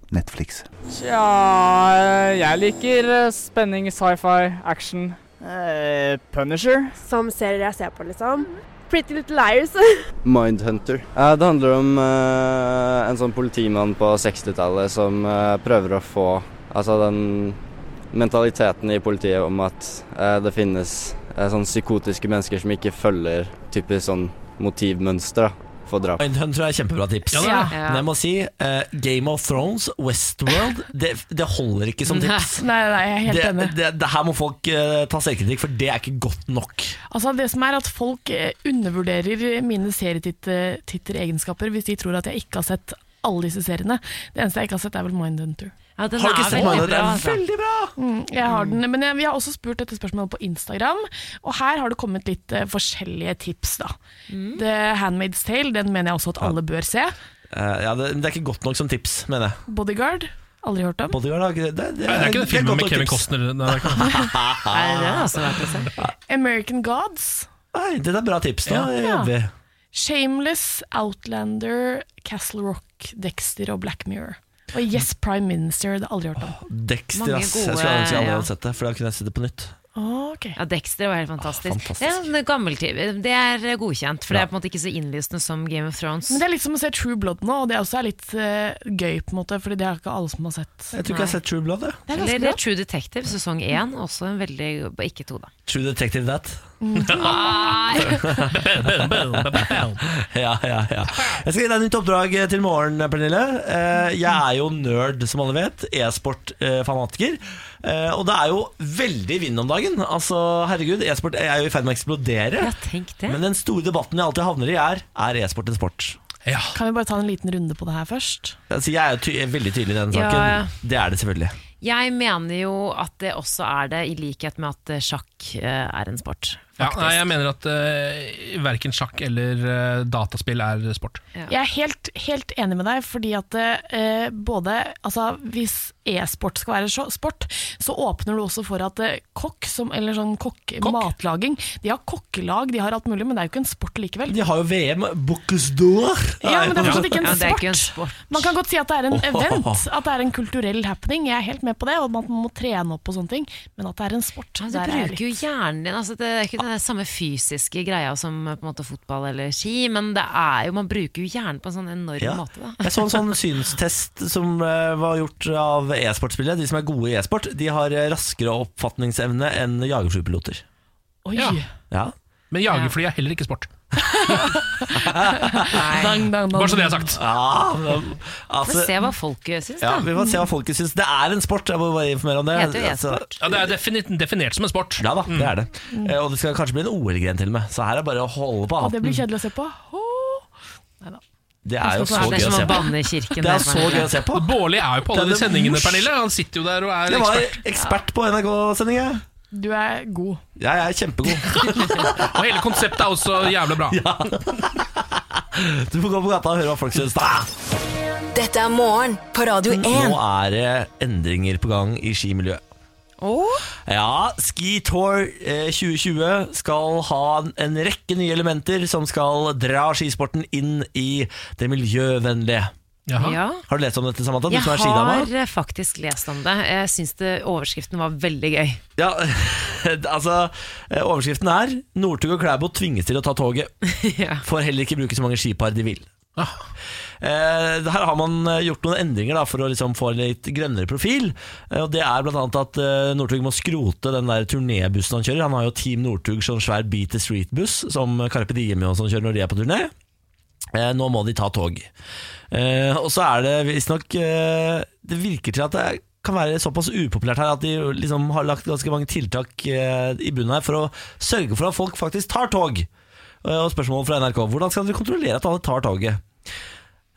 Netflix. Tja, jeg liker eh, spenning, sci-fi, action. Punisher. Som serier jeg ser på, liksom. Pretty Little Liars. Mindhunter. det handler om eh, en sånn politimann på 60-tallet som eh, prøver å få altså den mentaliteten i politiet om at eh, det finnes eh, sånn psykotiske mennesker som ikke følger typisk sånn motivmønster da, for drap. Mindhunter er kjempebra tips. Ja, det er det. Men jeg må si eh, Game of Thrones, Westworld, det, det holder ikke som tips. Nei, nei, jeg er helt det, enig. det, det her må folk eh, ta selvkritikk, for det er ikke godt nok. Altså Det som er at folk eh, undervurderer mine serietitteregenskaper hvis de tror at jeg ikke har sett alle disse seriene. Det eneste jeg ikke har sett, er vel Mindhunter. Ja, den Har du ikke er sett veldig Mindhunter? bra, altså. Veldig bra! Mm, jeg har den, men jeg, vi har også spurt dette spørsmålet på Instagram, og her har det kommet litt eh, forskjellige tips. da The Handmaid's Tale den mener jeg også at alle bør se. Eh, ja, det, det er ikke godt nok som tips, mener jeg. Bodyguard aldri hørt om. Bodyguard er ikke det, det, Nei, det er ikke den filmen med Kevin Costner. Nei, det er ikke det. Nei, det er også verdt å se. American Gods. Nei, det er bra tips. Da Ja. jobber vi. Shameless, Outlander, Castle Rock, Dexter og Black Mirror. Og Yes Prime Minister, det har jeg aldri hørt om. Dexter, Mange ass. gode- Jeg skulle ønske jeg aldri ja. hadde sett det, for da kunne jeg sett det på nytt. Ja, Dexter var helt fantastisk. fantastisk. Det er en gammeltid. Det er eh, godkjent, for Ja. det er på en måte ikke så innlysende som Game of Thrones. Men Det er litt som å se True Blood nå, og det også er litt eh, gøy, på en måte, Fordi det er ikke alle som har sett. Jeg tror ikke jeg har sett True Blood. Jeg. Det er ganske Eller bra. True Detective sesong én, også en veldig Ikke to, da. True Detective That. Ah. <laughs> ja, ja, ja. Jeg skal gi deg et nytt oppdrag til morgen, eh, Pernille. Eh, Jeg er jo nerd, som alle vet. E-sport-fanatiker. Eh, Og det er jo veldig vind om dagen. Altså, herregud, e-sport er jo i ferd med å eksplodere. Men den store debatten jeg alltid havner i, er er e-sport en sport? Kan vi bare ta en liten runde på det her først? Altså, jeg er jo ty er veldig tydelig i denne Ja, saken. ja. Det er det selvfølgelig. Jeg mener jo at det også er det, i likhet med at eh, sjakk eh, er en sport. Ja, nei, jeg mener at uh, verken sjakk eller eh, dataspill er sport. Jeg er helt, helt enig med deg, fordi at eh, både altså, Hvis e-sport skal være så- sport, så åpner du også for at eh, kokk, som, eller sånn kokk, matlaging De har kokkelag, de har alt mulig, men det er jo ikke en sport likevel. De har jo VM. Bocuse d'Or. Ja, men det er fortsatt ikke en Ja, det er sport. ikke en sport. Man kan godt si at det er en Åh. event, at det er en kulturell happening. Jeg er helt med på det, og man må trene opp og sånne ting, men at det er en sport Ja, der du er jeg bruker jo hjernen din. Altså, det er ikke den der samme fysiske greia som eh, på en måte fotball eller ski, men det er jo, man bruker jo hjernen på en sånn enorm Ja. måte. Da. Jeg så en <laughs> sånn synstest som eh, var gjort av e-sportspillere. De som er gode i e-sport, de har eh, raskere oppfatningsevne enn jagerflypiloter. Oi. Ja. Men jagerfly er heller ikke sport. Dang, dang, dang. Bare så det er sagt. Ja, Ah, men, altså, Men se hva folket syns, ja, da. vi må se hva folket syns. Det er en sport, jeg må bare informere om det. Heter jo Altså, e-sport. Mm. Ja, Det er definert, definert som en sport. Ja da, det er det. Eh, Og det skal kanskje bli en OL-gren til og med, så her er det bare å holde på Og det blir hatten. kjedelig å se på. Åh. Neida. Det er jo Det så er gøy som å å se på. banne i kirken, Det det er er så bare- gøy å se på. Bårli er jo på alle Det er de det sendingene, mors- Pernille. Han sitter jo der og er Jeg var ekspert. ekspert på NRK-sendinga. Du er god. Jeg er kjempegod. <laughs> Og hele konseptet er også jævlig bra. Du får gå på gata og høre hva folk syns. Da. Dette er morgen på Radio 1. Nå er det endringer på gang i skimiljøet. Ja, Ski Tour eh, 2020 skal ha en- en rekke nye elementer som skal dra skisporten inn i det miljøvennlige. Jaha. Ja. Har du lest om dette, Samantha? Du Jeg som er skidama? har eh, faktisk lest om det. Jeg syns det- overskriften var veldig gøy. Ja, <laughs> altså eh, Overskriften er 'Northug og Klæbo tvinges til å ta toget'. <laughs> Får heller ikke bruke så mange skipar de vil. Eh, her har man eh, gjort noen endringer da, for å liksom få en litt grønnere profil. Eh, og Det er bl.a. at eh, Northug må skrote den der turnébussen han kjører. Han har jo Team Northug sånn svær Beat the Street-buss, som Carpe Diem og sånn kjører når de er på turné. Eh, nå må de ta tog. Eh, og så er det visstnok eh, Det virker til at det kan være såpass upopulært her at de liksom har lagt ganske mange tiltak eh, i bunnen her for å sørge for at folk faktisk tar tog. Eh, og spørsmålet fra NRK hvordan skal dere kontrollere at alle tar toget?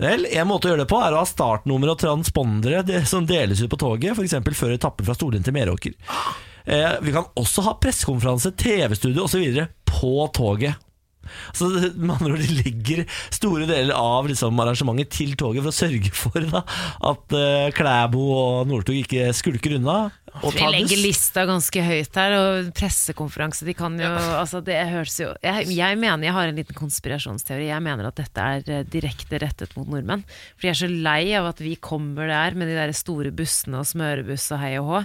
Vel, En måte å gjøre det på er å ha startnummer og transpondere de- som deles ut på toget, f.eks. før etappen fra Storlien til Meråker. Eh, vi kan også ha pressekonferanse, TV-studio osv. på toget. Så det- med andre ord, De legger store deler av liksom, arrangementet til toget for å sørge for da, at eh, Klæbo og Northug ikke skulker unna. Og Vi tar legger buss. lista ganske høyt her, og pressekonferanse De kan jo altså det høres jo jeg, jeg mener, jeg har en liten konspirasjonsteori. Jeg mener at dette er eh, direkte rettet mot nordmenn. For de er så lei av at vi kommer der med de der store bussene og smørebuss og hei og hå,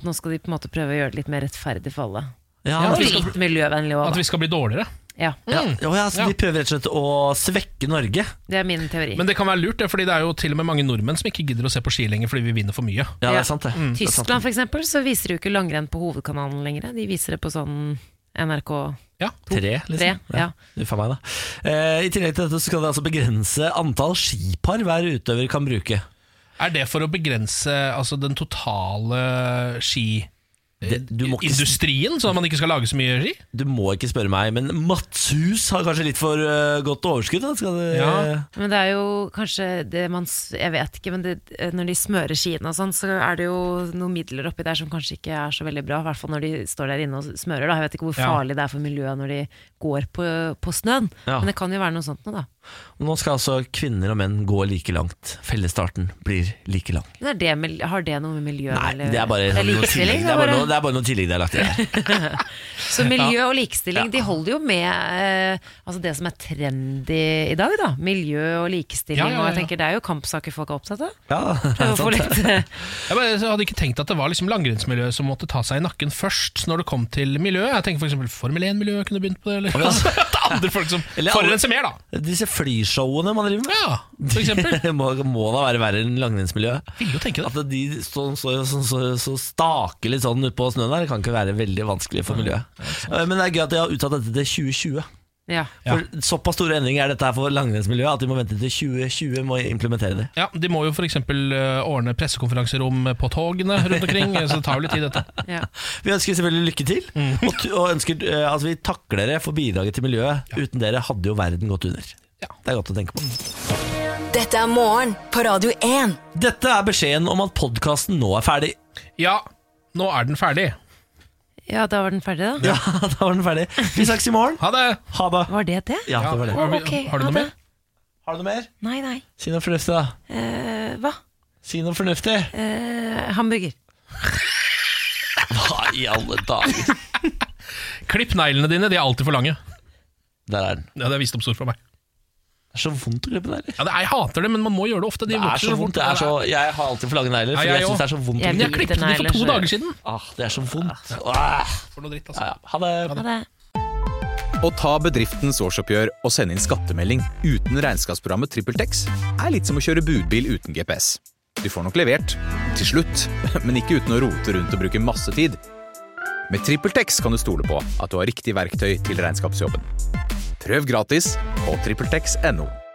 at nå skal de på en måte prøve å gjøre det litt mer rettferdig for alle. Ja, Ja, at vi litt miljøvennlig også, da. At vi skal bli dårligere. Ja. Ja, å ja, så De prøver rett og slett å svekke Norge. Det er min teori. Men det kan være lurt, det, fordi det er jo til og med mange nordmenn som ikke gidder å se på ski lenger fordi vi vinner for mye. Ja, det er sant det. Mm. Tyskland for eksempel, så viser de jo ikke langrenn på hovedkanalen lenger. De viser det på sånn NRK ja. Tre, liksom. Tre, ja. Uff a meg, da. Eh, I tillegg til dette så skal det altså begrense antall skipar hver utøver kan bruke. Er det for å begrense altså, den totale skiindustrien, sånn at man ikke skal lage så mye ski? Du må ikke spørre meg, men Matshus har kanskje litt for eh, godt overskudd? Da. Skal det, Men det er jo kanskje det man s- Jeg vet ikke, men det, eh, når de smører skiene og sånn, så er det jo noen midler oppi der som kanskje ikke er så veldig bra. I hvert fall når de står der inne og smører. Da. Jeg vet ikke hvor Ja. farlig det er for miljøet når de går på, på snøen, Ja. men det kan jo være noe sånt noe, da. Nå skal altså kvinner og menn gå like langt. Fellesstarten blir like lang. Men er det, mil- har det noe med miljø Nei, eller- det er bare eller noe tillegg likestilling, Det er bare bare- noe, det er bare noe tillegg de <laughs> har lagt til her. Så miljø og likestilling, de holder jo med eh, altså det som er trendy i dag, da. Miljø og likestilling, Ja, ja, ja, og jeg ja. tenker det er jo kampsaker folk er opptatt av. Ja, Prøve å få <laughs> litt <laughs> Jeg bare, jeg hadde ikke tenkt at det var liksom langrennsmiljøet som måtte ta seg i nakken først når det kom til miljøet. Jeg tenker for eksempel Formel 1-miljøet kunne begynt på det. Eller, altså, at <laughs> det er andre folk som Eller alle- forurenser mer, da. Disse flyshowene man driver med. Ja, for <laughs> eksempel. Det må, må da være verre enn langrennsmiljøet. Vil jo tenke det. At de står så, så, så, så staker litt sånn utpå snøen der, det kan ikke være veldig vanskelig for miljøet. Eh, Men det er gøy at de har uttatt dette til 2020. Ja. For Såpass store endringer er dette her for langrennsmiljøet at de må vente til 2020 med å implementere det. Ja, De må jo for eksempel eh, ordne pressekonferanserom på togene rundt omkring, så det tar jo litt tid, dette. Vi ønsker selvfølgelig lykke til, og, t- og ønsker, eh, altså vi takker dere for bidraget til miljøet. Uten dere hadde jo verden gått under. Det er godt å tenke på. Dette er morgen på Radio 1. Dette er beskjeden om at podkasten nå er ferdig. Ja, nå er den ferdig. Ja, da var den ferdig, da? <laughs> Ja, da var den ferdig. Vi snakkes i morgen. Ha det! Var det det? Ja, det var det. Å, ok, Har du noe ha det. mer? Har du noe mer? Nei, nei. Si noe fornuftig, da. Eh, hva? Si noe fornuftig. Eh, hamburger. Hva i alle dager? Klipp neglene dine, de er alltid for lange. Der er den. Ja, Det er visdomsord fra meg. Det er så vondt å klippe negler. Ja, det, jeg hater det, men man må gjøre det ofte. De Det er vokser så vondt. Det er så, jeg har alltid for lange negler, Ja, for jeg jeg syns også. det er så vondt. å Jeg klippe. Jeg klippte de for to dager siden. Ah, det er så vondt. Ah. For noe dritt, altså. Ja, ja. Ha det. Ha det. Å ta bedriftens årsoppgjør og sende inn skattemelding uten regnskapsprogrammet TrippelTex er litt som å kjøre budbil uten GPS. Du får nok levert, til slutt, <laughs> men ikke uten å rote rundt og bruke masse tid. Med TrippelTex kan du stole på at du har riktig verktøy til regnskapsjobben. Prøv gratis på TrippelTex.no.